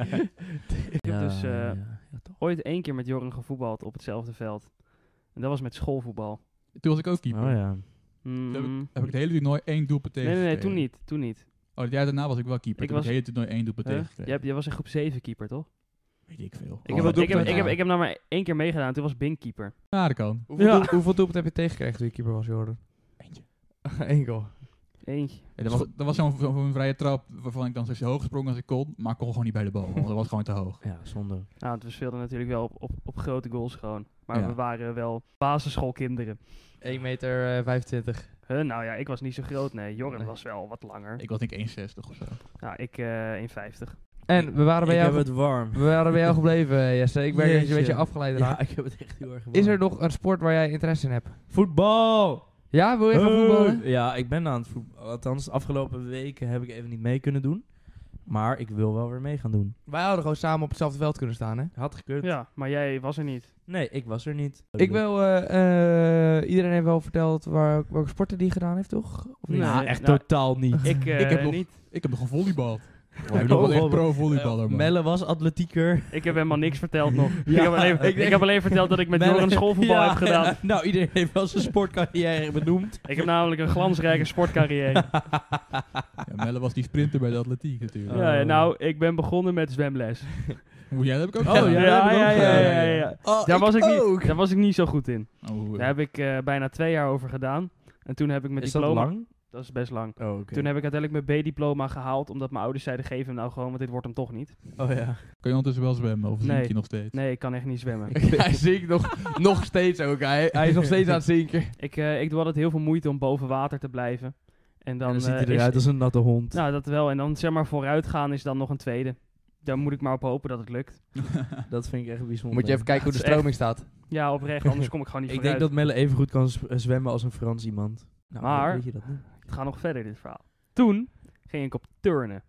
Speaker 4: heb
Speaker 2: Ja,
Speaker 4: dus eh,
Speaker 2: ja, ja, toch.
Speaker 4: ooit één keer met Joren gevoetbald op hetzelfde veld. En dat was met schoolvoetbal.
Speaker 3: Toen was ik ook keeper.
Speaker 2: Oh ja.
Speaker 4: Mm.
Speaker 3: Heb ik het hele toernooi één doelpunt tegen.
Speaker 4: Nee, nee, nee, toen niet. Toen niet.
Speaker 3: Oh, het jaar daarna was ik wel keeper.
Speaker 4: Ik
Speaker 3: Ik was
Speaker 4: was-
Speaker 3: hele toernooi één doelpunt
Speaker 4: Huh?
Speaker 3: tegengekregen.
Speaker 4: Jij, jij was in groep 7 keeper, toch?
Speaker 3: Weet ik veel.
Speaker 2: Oh,
Speaker 3: Oh.
Speaker 4: Ik
Speaker 1: Hoeveel
Speaker 4: heb, ik, heb,
Speaker 1: doelpunten?
Speaker 4: ik, heb, ik heb nou maar één keer meegedaan, toen was Bing keeper.
Speaker 3: Ja, dat kan.
Speaker 1: Hoeveel,
Speaker 4: Ja.
Speaker 1: doel- hoeveel doelpunten heb je tegengekregen toen je keeper was, Jordan?
Speaker 3: Eentje.
Speaker 1: Eén goal.
Speaker 4: Eentje.
Speaker 3: En dat was, dat was zo'n zo'n vrije trap waarvan ik dan zo hoog sprong als ik kon. Maar ik kon gewoon niet bij de bal, want dat was gewoon te hoog.
Speaker 2: Ja, zonde.
Speaker 4: Nou, want we speelden natuurlijk wel op, op, op grote goals gewoon. Maar
Speaker 3: Ja.
Speaker 4: we waren wel basisschoolkinderen.
Speaker 1: 1 meter eh, 25.
Speaker 4: Huh, nou ja, ik was niet zo groot, nee. Jorren
Speaker 1: Nee.
Speaker 4: was wel wat langer.
Speaker 3: Ik was denk ik 1,60 of zo.
Speaker 4: nou, ik eh 1,50.
Speaker 1: En we waren bij,
Speaker 2: ik
Speaker 1: jou,
Speaker 2: heb het warm.
Speaker 1: we waren bij jou gebleven, eh, Jesse. Ik merk dat je een
Speaker 2: Jeetje.
Speaker 1: beetje afgeleid raakt.
Speaker 2: Ja, ik heb het echt heel erg warm.
Speaker 1: Is er nog een sport waar jij interesse in hebt?
Speaker 2: Voetbal!
Speaker 1: Ja, wil je gaan
Speaker 2: Hey!
Speaker 1: voetballen?
Speaker 2: Ja, ik ben aan het voetballen. Althans, de afgelopen weken heb ik even niet mee kunnen doen. Maar ik wil wel weer mee gaan doen.
Speaker 1: Wij hadden gewoon samen op hetzelfde veld kunnen staan, hè?
Speaker 2: Had gekund.
Speaker 4: Ja, maar jij was er niet.
Speaker 2: Nee, ik was er niet.
Speaker 1: Ik wil, eh, eh, iedereen heeft wel verteld waar, welke sporten die gedaan heeft, toch? Of niet?
Speaker 4: Nee.
Speaker 2: Nou, echt
Speaker 4: nou,
Speaker 2: totaal niet.
Speaker 4: Ik, eh,
Speaker 3: Ik heb nog-
Speaker 4: niet.
Speaker 3: Ik heb nog een volleybal.
Speaker 2: Oh,
Speaker 3: ik ben wel echt
Speaker 2: volleybal.
Speaker 3: pro-volleyballer, man.
Speaker 2: Melle was atletieker.
Speaker 4: Ik heb helemaal niks verteld nog. ik,
Speaker 2: Ja,
Speaker 4: heb alleen,
Speaker 2: ik
Speaker 4: ik,
Speaker 2: denk-
Speaker 4: heb alleen verteld dat ik met
Speaker 2: Melle-
Speaker 4: Jorren schoolvoetbal
Speaker 2: Ja,
Speaker 4: heb gedaan.
Speaker 2: Nou, iedereen heeft wel zijn sportcarrière benoemd.
Speaker 4: Ik heb namelijk een glansrijke sportcarrière.
Speaker 3: Ja, Melle was die sprinter bij de atletiek natuurlijk.
Speaker 4: Ja,
Speaker 2: Oh.
Speaker 4: nou, ik ben begonnen met zwemles.
Speaker 3: Moet jij dat heb ik
Speaker 2: Oh,
Speaker 3: ook
Speaker 4: ja,
Speaker 3: gedaan.
Speaker 2: ja, dat
Speaker 4: ja,
Speaker 2: heb ik
Speaker 4: ja,
Speaker 2: ook
Speaker 4: ja,
Speaker 2: gedaan.
Speaker 4: ja, ja.
Speaker 2: Oh,
Speaker 4: Daar was ik niet- daar was ik niet zo goed in.
Speaker 3: Oh, hoe-
Speaker 4: Daar heb ik eh, bijna twee jaar over gedaan. En toen heb ik mijn
Speaker 2: Is dat
Speaker 4: diploma...
Speaker 2: lang?
Speaker 4: Dat is best lang.
Speaker 2: Oh,
Speaker 4: Toen heb ik uiteindelijk mijn B-diploma gehaald, omdat mijn ouders zeiden, geef hem nou gewoon, want dit wordt hem toch niet.
Speaker 2: Oh ja.
Speaker 3: Kun je ondertussen wel zwemmen of
Speaker 4: Nee.
Speaker 3: zinkt je nog steeds?
Speaker 4: Nee, ik kan echt niet zwemmen.
Speaker 1: hij zinkt nog, nog steeds ook. Hij, hij is nog steeds aan het zinken.
Speaker 4: ik, eh, ik doe altijd heel veel moeite om boven water te blijven. En dan,
Speaker 2: Dan, ziet hij
Speaker 4: eh, is-
Speaker 2: eruit als een natte hond.
Speaker 4: Nou, dat wel. En dan zeg maar vooruitgaan is dan nog een tweede. Daar moet ik maar op hopen dat het lukt.
Speaker 2: dat vind ik echt bijzonder.
Speaker 1: Moet je even kijken hoe de
Speaker 4: Dat is
Speaker 1: stroming staat.
Speaker 4: Ja, oprecht, anders kom ik gewoon niet
Speaker 2: ik
Speaker 4: vooruit.
Speaker 2: denk dat Melle even goed kan z- eh, zwemmen als een Frans iemand. Nou,
Speaker 4: Maar-
Speaker 2: Weet je dat niet?
Speaker 4: Het gaat nog verder, dit verhaal. Toen ging ik op turnen.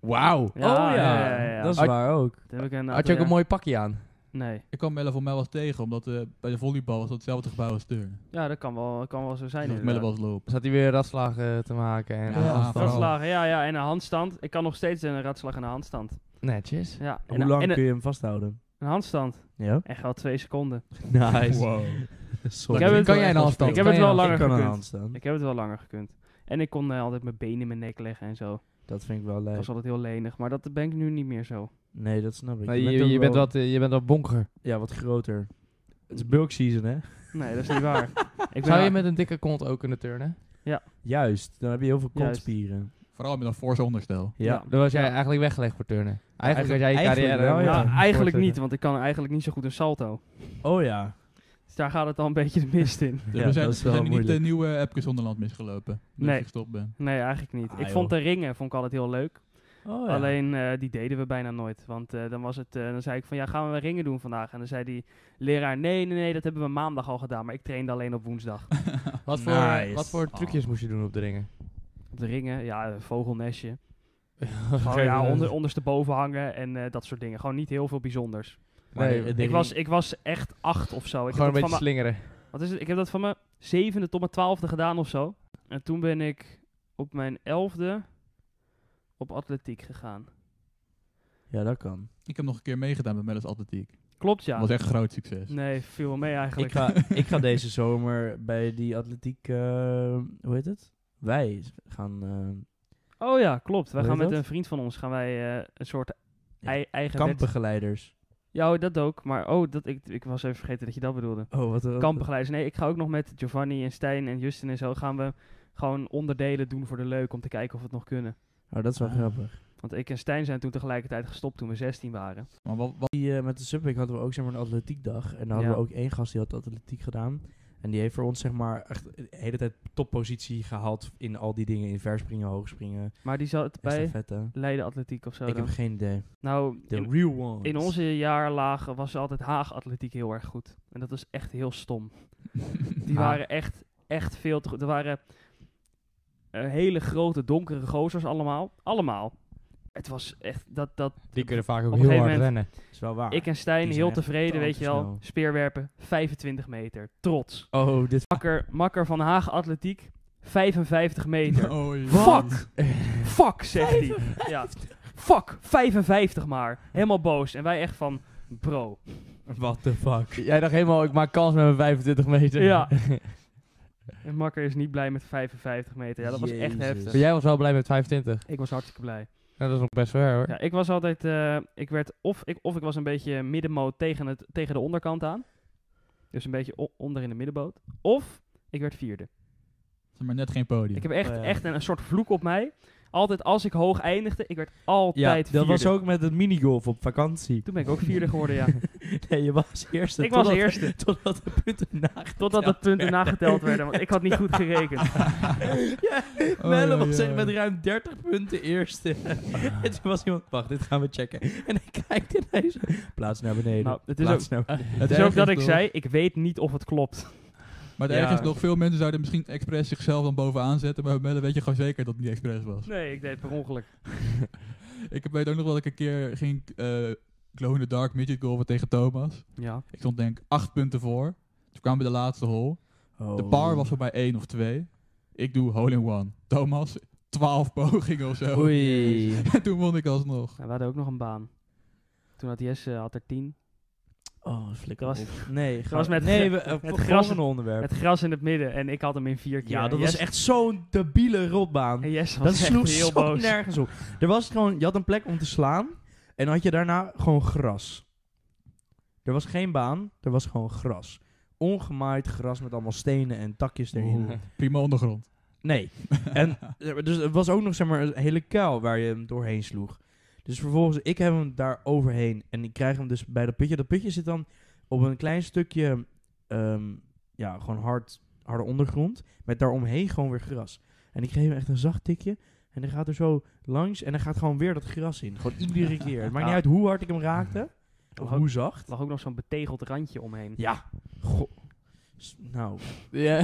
Speaker 1: Wauw.
Speaker 4: Ja,
Speaker 2: oh ja.
Speaker 4: ja, ja, ja.
Speaker 2: dat is
Speaker 1: Had-
Speaker 2: waar ook.
Speaker 4: Toen heb ik een
Speaker 1: Had je ook een
Speaker 4: aantal
Speaker 1: mooi pakje aan?
Speaker 4: jaar- Nee.
Speaker 3: Ik kwam Melle voor mij wel eens tegen, omdat eh, bij de volleybal was dat hetzelfde gebouw als Turn.
Speaker 4: Ja, dat kan wel, kan wel zo zijn.
Speaker 3: Dus Melle
Speaker 4: inderdaad.
Speaker 3: wel eens lopen.
Speaker 1: Zat hij weer ratslagen te maken? En
Speaker 3: Ja,
Speaker 1: afstand.
Speaker 3: vooral.
Speaker 2: Oh.
Speaker 4: Ratslagen, ja, ja. En een handstand. Ik kan nog steeds een ratslag en een handstand.
Speaker 1: Netjes.
Speaker 4: Ja, en
Speaker 2: Hoe
Speaker 4: een-
Speaker 2: lang
Speaker 4: nou, en een,
Speaker 2: kun je hem vasthouden?
Speaker 4: een handstand.
Speaker 2: Ja.
Speaker 4: Echt wel twee seconden.
Speaker 2: Nice.
Speaker 3: Wow.
Speaker 2: Sorry.
Speaker 4: Ik heb het-
Speaker 1: kan jij een handstand?
Speaker 4: Ik heb
Speaker 1: Kan
Speaker 4: het
Speaker 1: jij
Speaker 4: wel
Speaker 1: een
Speaker 4: langer
Speaker 2: Ik kan aan de
Speaker 4: gekund.
Speaker 2: hand staan.
Speaker 4: Ik heb het wel langer gekund. En ik kon eh, altijd mijn benen in mijn nek leggen en zo.
Speaker 2: Dat vind ik wel
Speaker 4: Dat
Speaker 2: leuk.
Speaker 4: was altijd heel lenig. Maar dat ben ik nu niet meer zo.
Speaker 2: Nee, dat snap ik.
Speaker 1: Nee, je,
Speaker 2: ook
Speaker 1: je, bent
Speaker 2: wel-
Speaker 1: wat, eh, je bent wat bonker.
Speaker 2: Ja, wat groter. Het is bulk season, hè?
Speaker 4: Nee, dat is niet waar. Ik ben
Speaker 1: Zou je met een dikke kont ook kunnen turnen?
Speaker 2: Juist. Dan heb je heel veel
Speaker 4: Juist.
Speaker 2: kontspieren.
Speaker 3: Vooral met een forse onderstel.
Speaker 2: Ja.
Speaker 4: Ja.
Speaker 1: Dan was jij
Speaker 4: Ja.
Speaker 1: eigenlijk weggelegd voor turnen. Eigenlijk
Speaker 2: Eigenlijk-
Speaker 1: was jij je
Speaker 2: eigenlijk
Speaker 1: carrière...
Speaker 2: wel,
Speaker 1: moet-
Speaker 2: ja.
Speaker 4: Nou,
Speaker 1: moet
Speaker 4: eigenlijk
Speaker 1: voortzetten.
Speaker 4: niet, want ik kan eigenlijk niet zo goed een salto.
Speaker 2: Oh ja.
Speaker 4: Dus daar gaat het al een beetje de mist in.
Speaker 3: Dus
Speaker 2: Ja,
Speaker 3: we zijn,
Speaker 2: dat
Speaker 3: we
Speaker 2: is wel
Speaker 3: zijn niet
Speaker 2: moeilijk.
Speaker 3: de nieuwe Epke Zonderland misgelopen. Dus
Speaker 4: Nee.
Speaker 3: ik gestopt ben.
Speaker 4: Nee, eigenlijk niet.
Speaker 2: Ah,
Speaker 4: ik
Speaker 2: joh.
Speaker 4: vond de ringen vond ik altijd heel leuk.
Speaker 2: Oh, ja.
Speaker 4: Alleen eh, die deden we bijna nooit. Want eh, dan, was het, eh, dan zei ik van ja, gaan we wel ringen doen vandaag? En dan zei die leraar: nee, nee, nee, dat hebben we maandag al gedaan. Maar ik trainde alleen op woensdag.
Speaker 1: Wat voor,
Speaker 2: Nice.
Speaker 1: wat voor trucjes moest je doen op de ringen?
Speaker 4: Op de ringen, ja, een vogelnestje. Gewoon, Oh, ja, onder, ondersteboven hangen en eh, dat soort dingen. Gewoon niet heel veel bijzonders.
Speaker 2: Maar
Speaker 1: Nee,
Speaker 2: de-
Speaker 1: ik
Speaker 2: de
Speaker 4: Ik was,
Speaker 2: ring-
Speaker 4: ik was echt acht of zo. Ik
Speaker 1: Gewoon een
Speaker 4: heb dat
Speaker 1: beetje
Speaker 4: van mijn-
Speaker 1: slingeren.
Speaker 4: wat is het? Ik heb dat van mijn zevende tot mijn twaalfde gedaan of zo. En toen ben ik op mijn elfde op atletiek gegaan.
Speaker 2: Ja, dat kan.
Speaker 3: Ik heb nog een keer meegedaan met Melle's atletiek.
Speaker 4: Klopt
Speaker 3: Dat
Speaker 4: ja.
Speaker 3: was echt een groot succes.
Speaker 4: Nee, viel wel mee
Speaker 2: Ik
Speaker 4: eigenlijk.
Speaker 2: ga, ik ga deze zomer bij die atletiek... eh, hoe heet het? Wij gaan... eh,
Speaker 4: Oh ja, klopt. Wij
Speaker 2: Hoe
Speaker 4: gaan
Speaker 2: heet
Speaker 4: met
Speaker 2: dat?
Speaker 4: een vriend van ons gaan wij eh, een soort ei- eigen wedst-
Speaker 2: kampbegeleiders.
Speaker 4: Ja, oh, dat ook. Maar oh, dat, ik, ik was even vergeten dat je dat bedoelde.
Speaker 2: Oh, wat een...
Speaker 4: Kampbegeleiders. Nee, ik ga ook nog met Giovanni en Stijn en Justin en zo gaan we gewoon onderdelen doen voor de leuk om te kijken of we het nog kunnen.
Speaker 2: Oh, dat is wel
Speaker 3: Ah.
Speaker 2: grappig.
Speaker 4: Want ik en Stijn zijn toen tegelijkertijd gestopt toen we 16 waren.
Speaker 3: Maar wat, wat-
Speaker 2: Die, eh, met de Subweek hadden we ook zeg maar, een atletiekdag. En daar hadden
Speaker 4: Ja.
Speaker 2: we ook één gast die had atletiek gedaan. En die heeft voor ons zeg maar echt de hele tijd toppositie gehaald in al die dingen. In verspringen, hoogspringen,
Speaker 4: Maar die zat bij
Speaker 2: estafette.
Speaker 4: Leiden Atletiek of zo
Speaker 2: Ik
Speaker 4: dan.
Speaker 2: heb geen idee.
Speaker 4: Nou,
Speaker 2: The
Speaker 4: in,
Speaker 2: real one.
Speaker 4: in onze jaarlagen was altijd Haag Atletiek heel erg goed. En dat was echt heel stom. Die
Speaker 2: Ah.
Speaker 4: waren echt, echt veel te goed. Er waren eh, hele grote donkere gozers allemaal. Allemaal. Het was echt dat, dat
Speaker 1: Die kunnen vaak ook
Speaker 4: een
Speaker 1: heel hard
Speaker 4: gegeven
Speaker 1: rennen.
Speaker 2: Is wel waar.
Speaker 4: ik en Stijn
Speaker 2: die zijn
Speaker 4: heel
Speaker 2: echt
Speaker 4: tevreden, weet je wel.
Speaker 2: snel.
Speaker 4: Speerwerpen, 25 meter. Trots.
Speaker 2: Oh, dit...
Speaker 4: Makker, makker van Haag Atletiek, 55 meter.
Speaker 3: Oh, jee.
Speaker 4: Fuck! Fuck, zegt hij. Ja. Fuck, 55 maar. Helemaal boos. En wij echt van, bro.
Speaker 2: What the fuck.
Speaker 1: Jij dacht helemaal, ik maak kans met mijn 25 meter.
Speaker 4: Ja. En Makker is niet blij met 55 meter. Ja, dat was echt
Speaker 2: Jezus.
Speaker 4: heftig.
Speaker 1: Maar jij was wel blij met 25.
Speaker 4: Ik was hartstikke blij.
Speaker 1: Nou, dat is nog best ver hoor.
Speaker 4: Ja, ik was altijd, eh, ik werd of ik, of ik was een beetje middenmoot tegen, het, tegen de onderkant aan. Dus een beetje o- onder in de middenboot. Of ik werd vierde.
Speaker 3: Maar net geen podium.
Speaker 4: Ik heb echt,
Speaker 2: Oh ja.
Speaker 4: echt een, een soort vloek op mij. Altijd als ik hoog eindigde, ik werd altijd
Speaker 2: dat
Speaker 4: vierde.
Speaker 2: was ook met het minigolf op vakantie.
Speaker 4: Toen ben ik ook vierde geworden, ja.
Speaker 2: Nee, je was eerste.
Speaker 4: Ik was
Speaker 2: totdat-
Speaker 4: eerste.
Speaker 2: Totdat de punten nageteld
Speaker 4: Totdat de punten nageteld werden, want ik had niet goed gerekend.
Speaker 2: ja,
Speaker 3: Oh,
Speaker 2: Melle
Speaker 3: ja,
Speaker 2: was
Speaker 3: ja.
Speaker 2: echt met ruim 30 punten eerste. en toen was iemand, wacht, dit gaan we checken. En hij kijkt in deze plaats naar beneden.
Speaker 4: Nou, het is ook,
Speaker 2: plaats naar beneden.
Speaker 4: het is
Speaker 3: erg
Speaker 4: ook dat ik
Speaker 3: nog-
Speaker 4: zei, ik weet niet of het klopt.
Speaker 3: Maar het
Speaker 2: Ja.
Speaker 3: erg is nog, veel mensen zouden misschien expres zichzelf dan bovenaan zetten. Maar bij Melle weet je gewoon zeker dat het niet expres was.
Speaker 4: Nee, ik deed het per ongeluk.
Speaker 3: Ik heb- weet ook nog wel dat ik een keer ging eh glow in the dark midget golven tegen Thomas.
Speaker 4: Ja.
Speaker 3: Ik stond denk ik acht punten voor. Toen kwamen we de laatste hole. De
Speaker 2: Oh.
Speaker 3: par was er bij één of twee. Ik doe hole in one. Thomas, twaalf pogingen of
Speaker 2: Oh.
Speaker 3: zo.
Speaker 2: Oei.
Speaker 3: En toen won ik alsnog.
Speaker 4: En we hadden ook nog een baan. Toen had Jesse eh, had er tien.
Speaker 2: Oh, flikker
Speaker 4: Dat
Speaker 2: was,
Speaker 4: was-
Speaker 2: Nee, ga-
Speaker 4: was met
Speaker 2: nee,
Speaker 4: gr-
Speaker 2: we, eh,
Speaker 4: met
Speaker 2: volgende
Speaker 4: gras-
Speaker 2: onderwerp.
Speaker 4: Het gras in het midden en ik had hem in vier keer.
Speaker 2: ja, dat
Speaker 4: En
Speaker 2: was
Speaker 4: Jesse-
Speaker 2: echt zo'n debiele rotbaan.
Speaker 4: En Jesse was
Speaker 2: Dat
Speaker 4: echt
Speaker 2: sloeg
Speaker 4: heel
Speaker 2: zo
Speaker 4: boos.
Speaker 2: nergens op. Er was gewoon, je had een plek om te slaan en had je daarna gewoon gras. Er was geen baan, er was gewoon gras. Ongemaaid gras met allemaal stenen en takjes erin.
Speaker 3: Oeh, Prima ondergrond.
Speaker 2: Nee. En eh, dus het was ook nog zeg maar een hele kuil waar je hem doorheen sloeg. Dus vervolgens, ik heb hem daar overheen en ik krijg hem dus bij dat putje. Dat putje zit dan op een klein stukje, ehm, ja, gewoon hard, harde ondergrond. Met daaromheen gewoon weer gras. En ik geef hem echt een zacht tikje. En hij gaat er zo langs en dan gaat gewoon weer dat gras in. Gewoon iedere keer. Het maakt niet
Speaker 4: Ja.
Speaker 2: uit hoe hard ik hem raakte. Of
Speaker 4: Lag ook-
Speaker 2: hoe zacht.
Speaker 4: Er lag ook nog zo'n betegeld randje omheen.
Speaker 2: Ja. Goh. S- Nou,
Speaker 1: Ja,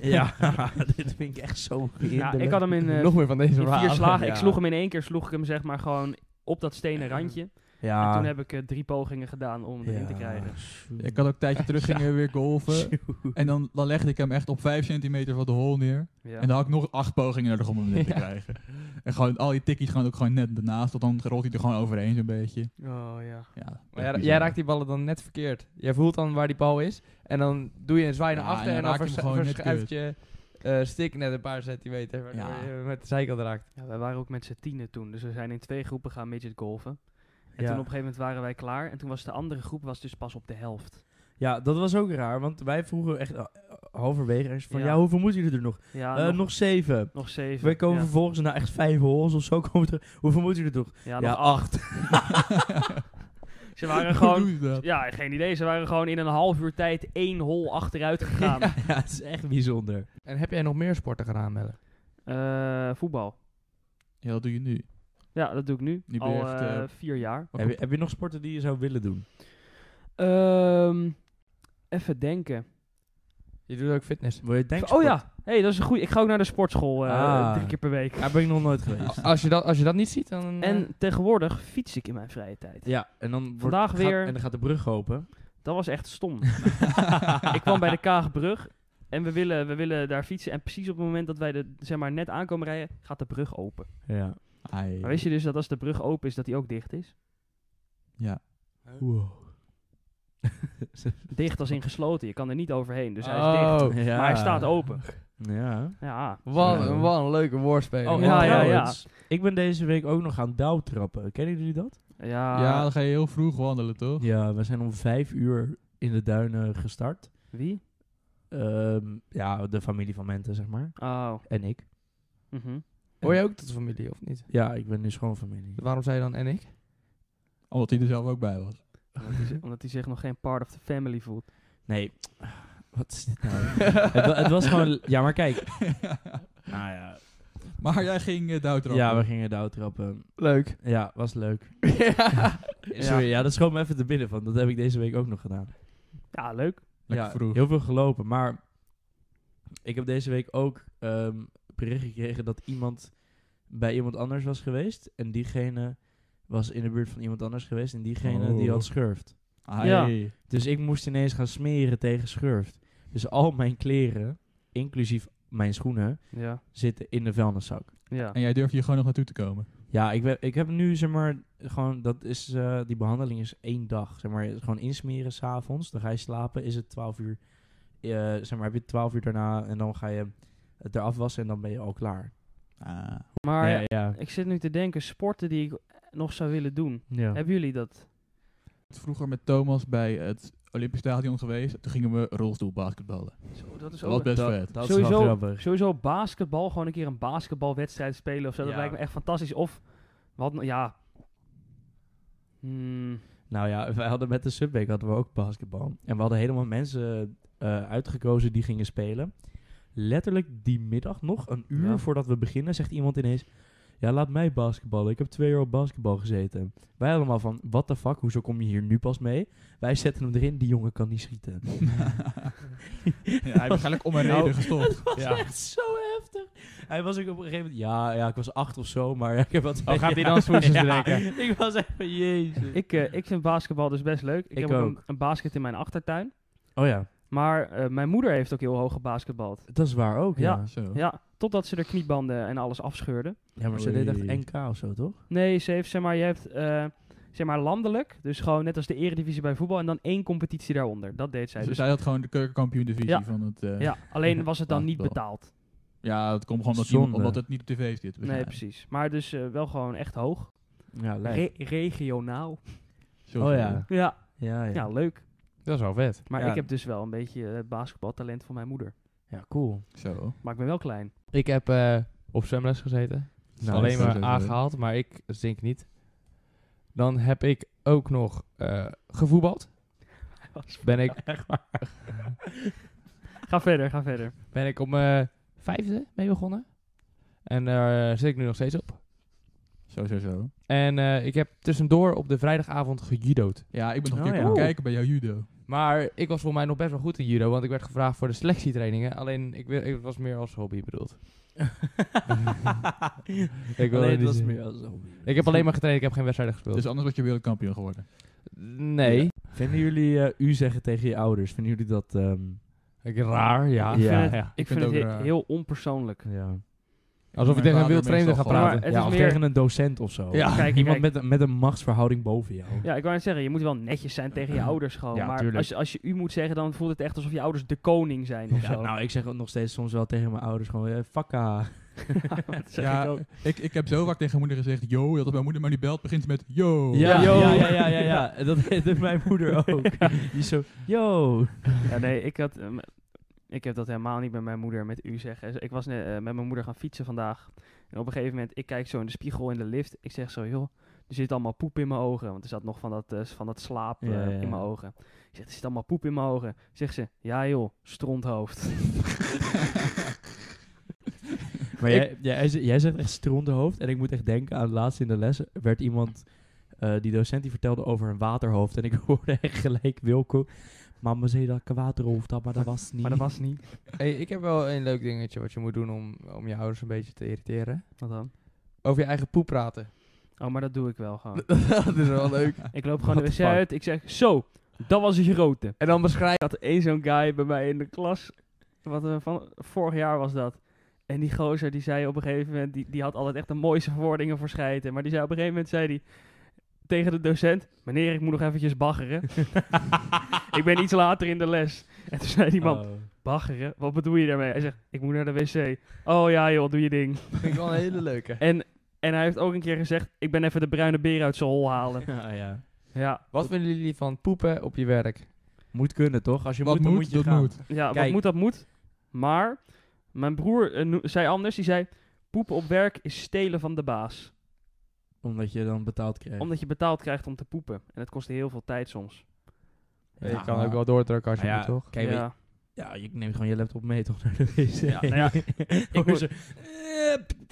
Speaker 2: ja, dit vind ik echt zo
Speaker 4: Ja,
Speaker 2: hinderlijk.
Speaker 4: ik had hem in, eh,
Speaker 1: nog meer van deze
Speaker 4: in vier
Speaker 1: verhalen.
Speaker 4: slagen.
Speaker 2: ja.
Speaker 4: Ik sloeg hem in één keer, sloeg ik hem zeg maar gewoon op dat stenen randje.
Speaker 2: Ja.
Speaker 4: En toen heb ik eh, drie pogingen gedaan om hem erin te
Speaker 2: Ja,
Speaker 4: krijgen.
Speaker 2: shoot.
Speaker 3: Ik had ook een tijdje terug gingen we weer golven.
Speaker 2: Shoot.
Speaker 3: En dan, dan legde ik hem echt op 5 centimeter van de hole neer.
Speaker 4: Ja.
Speaker 3: En dan had ik nog acht pogingen nodig om hem net te
Speaker 2: Ja.
Speaker 3: krijgen. En gewoon al die tikkies gewoon ook gewoon net ernaast. Want dan rolt hij er gewoon overheen zo'n beetje.
Speaker 4: Oh ja.
Speaker 3: Ja,
Speaker 1: Maar jij, jij raakt die ballen dan net verkeerd. Jij voelt dan waar die bal is. En dan doe je een zwaai naar
Speaker 3: Ja,
Speaker 1: achter.
Speaker 3: en
Speaker 1: En
Speaker 3: dan
Speaker 1: dan,
Speaker 3: raak je hem
Speaker 1: vers-
Speaker 3: gewoon net
Speaker 1: verschuift je eh, stick net een paar centimeter. Waardoor
Speaker 3: Ja.
Speaker 1: je hem met de zijkant raakt.
Speaker 4: ja. Wij waren ook met z'n tienen toen. Dus we zijn in twee groepen gaan midget golven. En
Speaker 2: Ja.
Speaker 4: toen op een gegeven moment waren wij klaar. En toen was de andere groep was dus pas op de helft.
Speaker 2: Ja, dat was ook raar, want wij vroegen echt eh, halverwege ergens van, ja.
Speaker 4: Ja.
Speaker 2: hoeveel moeten jullie er nog?
Speaker 4: Ja,
Speaker 2: Eh, nog,
Speaker 4: nog,
Speaker 2: zeven.
Speaker 4: nog zeven.
Speaker 2: Wij komen
Speaker 4: ja.
Speaker 2: vervolgens na echt vijf holes of zo, komen we terug. Hoeveel moeten jullie er nog?
Speaker 4: Ja,
Speaker 2: ja,
Speaker 4: nog
Speaker 2: acht.
Speaker 4: acht. Ze waren
Speaker 3: Hoe
Speaker 4: gewoon...
Speaker 3: doe je dat?
Speaker 4: Ja, geen idee. Ze waren gewoon in een half uur tijd één hol achteruit gegaan.
Speaker 2: ja, het is echt bijzonder.
Speaker 1: En heb jij nog meer sporten gedaan, Melle?
Speaker 4: Eh, voetbal.
Speaker 3: Ja, dat doe je nu.
Speaker 4: Ja, dat doe ik nu.
Speaker 3: Nu ben
Speaker 4: al
Speaker 3: je echt,
Speaker 4: eh,
Speaker 3: eh,
Speaker 4: vier jaar.
Speaker 2: Heb je, heb je nog sporten die je zou willen doen?
Speaker 4: Ehm, even denken.
Speaker 1: Je doet ook fitness.
Speaker 2: Wil je denken?
Speaker 4: Oh ja, hey, dat is een goeie. Ik ga ook naar de sportschool eh,
Speaker 2: Ah.
Speaker 4: drie keer per week.
Speaker 2: Daar ben ik nog nooit geweest.
Speaker 1: Als je dat, als je dat niet ziet, dan... eh,
Speaker 4: En tegenwoordig fiets ik in mijn vrije tijd.
Speaker 2: Ja, en dan wordt-
Speaker 4: Vandaag
Speaker 2: gaat-
Speaker 4: weer-
Speaker 2: en dan gaat de brug open.
Speaker 4: Dat was echt stom. ik kwam bij de Kaagbrug en we willen, we willen daar fietsen. En precies op het moment dat wij de, zeg maar, net aankomen rijden, gaat de brug open.
Speaker 2: Ja.
Speaker 3: Ai.
Speaker 4: Maar wist je dus dat als de brug open is, dat die ook dicht is?
Speaker 3: Ja.
Speaker 4: Dicht als in gesloten. Je kan er niet overheen, dus hij is dicht.
Speaker 1: oh,
Speaker 2: ja.
Speaker 4: Maar hij staat open.
Speaker 2: Ja.
Speaker 4: Ja.
Speaker 1: Wat,
Speaker 3: Ja.
Speaker 1: een- wat een leuke woordspeling.
Speaker 2: Oh,
Speaker 4: Oh,
Speaker 2: ja,
Speaker 4: ja,
Speaker 2: ja,
Speaker 4: ja, ja.
Speaker 2: Ik ben deze week ook nog aan douwtrappen. Kennen jullie dat?
Speaker 4: Ja,
Speaker 3: ja, dan ga je heel vroeg wandelen, toch?
Speaker 2: Ja, we zijn om vijf uur in de duinen gestart.
Speaker 4: wie?
Speaker 2: Ehm, ja, de familie van Mente, zeg maar.
Speaker 4: Oh.
Speaker 2: En ik.
Speaker 4: mhm.
Speaker 1: Hoor je ook tot de familie, of niet?
Speaker 2: Ja, ik ben nu schoonfamilie.
Speaker 1: Waarom zei je dan en ik?
Speaker 3: Omdat hij er zelf ook bij was.
Speaker 4: Omdat hij zich- Omdat hij zich nog geen part of the family voelt.
Speaker 2: Nee. Wat is dit nou? het, wa- het was gewoon... Ja, maar kijk. Nou ja.
Speaker 3: Maar jij ging uh,
Speaker 2: Ja, we gingen douwtrappen.
Speaker 1: Leuk.
Speaker 2: Ja, was leuk.
Speaker 1: ja.
Speaker 2: Sorry, ja. dat schoot me even te binnen van. Dat heb ik deze week ook nog gedaan.
Speaker 4: Ja, leuk.
Speaker 3: Lekker
Speaker 2: ja,
Speaker 3: vroeg.
Speaker 2: heel veel gelopen. Maar ik heb deze week ook ehm bericht gekregen dat iemand bij iemand anders was geweest. En diegene was in de buurt van iemand anders geweest. En diegene die
Speaker 3: Oh.
Speaker 2: had schurft.
Speaker 3: Ai.
Speaker 4: Ja.
Speaker 2: Dus ik moest ineens gaan smeren tegen schurft. Dus al mijn kleren, inclusief mijn schoenen,
Speaker 4: Ja.
Speaker 2: zitten in de vuilniszak.
Speaker 4: Ja.
Speaker 3: En jij durfde hier gewoon nog naartoe te komen.
Speaker 2: Ja, ik, we- ik heb nu zeg maar gewoon, dat is, eh, die behandeling is één dag. Zeg maar, gewoon insmeren s'avonds, dan ga je slapen, is het 12 uur. eh, zeg maar, heb je 12 uur daarna en dan ga je het eraf wassen en dan ben je al klaar.
Speaker 3: Ah.
Speaker 4: Maar
Speaker 2: ja, ja.
Speaker 4: ik zit nu te denken, sporten die ik nog zou willen doen.
Speaker 2: ja.
Speaker 4: Hebben jullie dat?
Speaker 3: Vroeger met Thomas bij het Olympisch Stadion geweest. Toen gingen we rolstoel basketballen.
Speaker 4: Zo, dat is
Speaker 3: Dat was
Speaker 4: ook...
Speaker 3: best
Speaker 2: Dat-
Speaker 3: vet.
Speaker 2: Dat is wel
Speaker 4: sowieso,
Speaker 2: grappig.
Speaker 4: sowieso basketbal, gewoon een keer een basketbalwedstrijd spelen of zo. Dat
Speaker 2: Ja.
Speaker 4: lijkt me echt fantastisch. Of, wat, ja... Hmm,
Speaker 2: Nou ja, wij hadden met de Subweek hadden we ook basketbal. En we hadden helemaal mensen eh, uitgekozen die gingen spelen. Letterlijk die middag, nog een uur
Speaker 4: Ja.
Speaker 2: voordat we beginnen, zegt iemand ineens... Ja, laat mij basketballen. Ik heb twee uur op basketbal gezeten. Wij allemaal van, what the fuck, hoezo kom je hier nu pas mee? Wij zetten hem erin, die jongen kan niet schieten.
Speaker 3: ja, hij heeft waarschijnlijk om een
Speaker 2: Nou,
Speaker 3: reden gestopt.
Speaker 2: Dat was
Speaker 1: Ja.
Speaker 2: echt zo heftig. Hij was ook op een gegeven moment... Ja, ja ik was acht of zo, maar ik heb wat...
Speaker 1: Oh, gaat hij dan smoesjes drinken?
Speaker 2: Ik was echt van, jezus.
Speaker 4: ik, eh, ik vind basketbal dus best leuk. Ik,
Speaker 2: Ik
Speaker 4: heb ook een,
Speaker 2: ook.
Speaker 4: een basket in mijn achtertuin.
Speaker 2: Oh ja,
Speaker 4: Maar eh, mijn moeder heeft ook heel hoog gebasketbald.
Speaker 2: dat is waar ook,
Speaker 4: Ja.
Speaker 2: ja.
Speaker 3: Zo.
Speaker 4: Ja, totdat ze er kniebanden en alles afscheurde.
Speaker 2: Ja, maar ze deed echt
Speaker 3: Oei.
Speaker 2: NK of zo, toch?
Speaker 4: Nee, ze heeft, zeg maar, je hebt eh, zeg maar landelijk, dus gewoon net als de eredivisie bij voetbal, en dan één competitie daaronder. Dat deed zij.
Speaker 3: Dus
Speaker 4: Dus,
Speaker 3: zij had gewoon de keukenkampioen-divisie
Speaker 4: Ja.
Speaker 3: van het... eh, ja.
Speaker 4: ja, alleen was het dan niet
Speaker 3: Wel.
Speaker 4: betaald.
Speaker 3: het komt gewoon omdat,
Speaker 2: Zonde.
Speaker 3: iemand- omdat het niet op tv zit.
Speaker 4: Nee, precies. Maar dus eh, wel gewoon echt hoog.
Speaker 2: Ja,
Speaker 4: Re- regionaal.
Speaker 3: Zo
Speaker 2: Oh
Speaker 3: zo.
Speaker 2: ja.
Speaker 4: Ja,
Speaker 2: Ja, ja.
Speaker 4: ja,
Speaker 2: ja.
Speaker 4: leuk.
Speaker 1: Dat is wel vet.
Speaker 4: Maar
Speaker 2: Ja.
Speaker 4: ik heb dus wel een beetje eh, basketbaltalent van mijn moeder.
Speaker 2: cool.
Speaker 3: Zo.
Speaker 4: Maar ik ben wel klein.
Speaker 1: Ik heb eh, op zwemles gezeten.
Speaker 2: Nou,
Speaker 1: Alleen
Speaker 3: dat is
Speaker 1: maar
Speaker 3: sowieso.
Speaker 1: aangehaald, maar ik zink niet. Dan heb ik ook nog eh, gevoetbald. Ben ik,
Speaker 4: Ga verder, ga verder.
Speaker 1: ben ik op mijn vijfde mee begonnen. En daar eh, zit ik nu nog steeds op.
Speaker 3: Zo, zo, zo.
Speaker 1: En eh, ik heb tussendoor op de vrijdagavond gejudo'd.
Speaker 3: Ja, ik ben nog een
Speaker 2: Oh,
Speaker 3: keer
Speaker 2: ja.
Speaker 3: komen
Speaker 2: Oeh.
Speaker 3: kijken bij jouw judo.
Speaker 1: Maar ik was volgens mij nog best wel goed in judo, want ik werd gevraagd voor de selectietrainingen. Alleen ik, wi- ik was meer als hobby bedoeld. Ik wil
Speaker 2: alleen
Speaker 1: niet
Speaker 2: dat is
Speaker 1: zeggen.
Speaker 2: meer als hobby.
Speaker 1: Ik heb alleen maar getraind, ik heb geen wedstrijden gespeeld.
Speaker 3: Dus anders was je wereldkampioen geworden.
Speaker 1: nee.
Speaker 2: Vinden jullie eh, u zeggen tegen je ouders, vinden jullie dat... ehm,
Speaker 1: Ik, raar, ja.
Speaker 4: Ik vind het,
Speaker 1: ja.
Speaker 4: ik
Speaker 3: vind
Speaker 4: vind het
Speaker 3: het ook
Speaker 4: he-
Speaker 3: raar.
Speaker 4: heel onpersoonlijk.
Speaker 2: ja.
Speaker 1: Alsof je tegen een wild vreemde gaat
Speaker 3: Ja, maar
Speaker 1: praten.
Speaker 4: het
Speaker 2: ja
Speaker 4: is
Speaker 2: of
Speaker 4: meer-
Speaker 2: tegen een docent of zo.
Speaker 1: Ja.
Speaker 4: Kijk,
Speaker 2: Iemand
Speaker 4: kijk.
Speaker 2: Met, een- met een machtsverhouding boven jou.
Speaker 4: Ja, ik wou net zeggen, je moet wel netjes zijn tegen je ouders gewoon.
Speaker 1: Ja,
Speaker 4: maar
Speaker 1: tuurlijk.
Speaker 4: als, je- als je u moet zeggen, dan voelt het echt alsof je ouders de koning zijn of
Speaker 2: Ja,
Speaker 4: zo.
Speaker 2: nou, ik zeg ook nog steeds soms wel tegen mijn ouders gewoon, eh, fakka.
Speaker 4: Dat zeg
Speaker 3: Ja,
Speaker 4: ik ook.
Speaker 3: ik, ik, heb zo vaak tegen mijn moeder gezegd, yo, dat als mijn moeder maar niet belt, begint ze met yo.
Speaker 2: Ja,
Speaker 4: yo.
Speaker 2: ja, ja, ja, ja, ja. Dat deed mijn moeder ook. Die is zo, yo.
Speaker 4: Ja, nee, ik, had, ehm, ik heb dat helemaal niet met mijn moeder, met u zeggen. Ik was net, eh, met mijn moeder gaan fietsen vandaag. En op een gegeven moment, ik kijk zo in de spiegel in de lift. Ik zeg zo, joh, er zit allemaal poep in mijn ogen. Want er zat nog van dat, eh, van dat slaap eh,
Speaker 2: Ja, ja, ja.
Speaker 4: in mijn ogen. Ik zeg, er zit allemaal poep in mijn ogen. Zegt ze, ja joh, stronthoofd.
Speaker 2: Maar jij, jij, z- jij zegt echt stronde hoofd. En ik moet echt denken aan laatst in de les werd iemand, eh, die docent die vertelde over een waterhoofd. En ik hoorde echt gelijk Wilco. Mama zei dat ik een waterhoofd had, maar dat was niet. Oh.
Speaker 4: Maar dat was niet.
Speaker 1: Hey, ik heb wel een leuk dingetje wat je moet doen om, om je ouders een beetje te irriteren.
Speaker 4: Wat dan?
Speaker 1: Over je eigen poep praten.
Speaker 4: Oh, maar dat doe ik wel gewoon.
Speaker 1: dat is wel leuk.
Speaker 4: Ik loop gewoon de
Speaker 1: What
Speaker 4: wc
Speaker 1: the fuck?
Speaker 4: uit. Ik zeg, zo, dat was een grote.
Speaker 1: En dan beschrijf
Speaker 4: Ik had één zo'n guy bij mij in de klas. Wat eh, van, vorig jaar was dat. En die gozer die zei op een gegeven moment, die, die had altijd echt de mooiste verwoordingen voor scheiden. Maar die zei op een gegeven moment zei die tegen de docent: Meneer, ik moet nog eventjes baggeren. ik ben iets later in de les. En toen zei die man:
Speaker 2: Oh.
Speaker 4: Baggeren? Wat bedoel je daarmee? Hij zegt: Ik moet naar de wc. Oh ja, joh, doe je ding.
Speaker 1: Vind ik wel een hele leuke.
Speaker 4: En, en hij heeft ook een keer gezegd: Ik ben even de bruine beer uit zijn hol halen.
Speaker 2: Ja, Ah, ja.
Speaker 4: Ja,
Speaker 1: Wat vinden jullie van poepen op je werk?
Speaker 2: Moet kunnen, toch? Als je
Speaker 3: Wat
Speaker 2: moet,
Speaker 3: moet,
Speaker 2: dan moet je
Speaker 3: dat
Speaker 2: gaan.
Speaker 3: moet.
Speaker 4: Ja, wat
Speaker 2: Kijk.
Speaker 4: moet dat moet. Maar mijn broer eh, no- zei anders. Die zei, poepen op werk is stelen van de baas.
Speaker 2: Omdat je dan betaald krijgt.
Speaker 4: Omdat je betaald krijgt om te poepen. En dat kost heel veel tijd soms.
Speaker 2: Ja,
Speaker 1: je kan
Speaker 3: maar-
Speaker 1: ook wel doordrukken als je
Speaker 2: Nou ja,
Speaker 1: moet, toch?
Speaker 2: Kijk, weet-
Speaker 4: ja.
Speaker 2: ja, je neemt gewoon je laptop mee toch naar de wc.
Speaker 4: Ja, nou ja,
Speaker 2: ik
Speaker 4: moet-
Speaker 2: moet...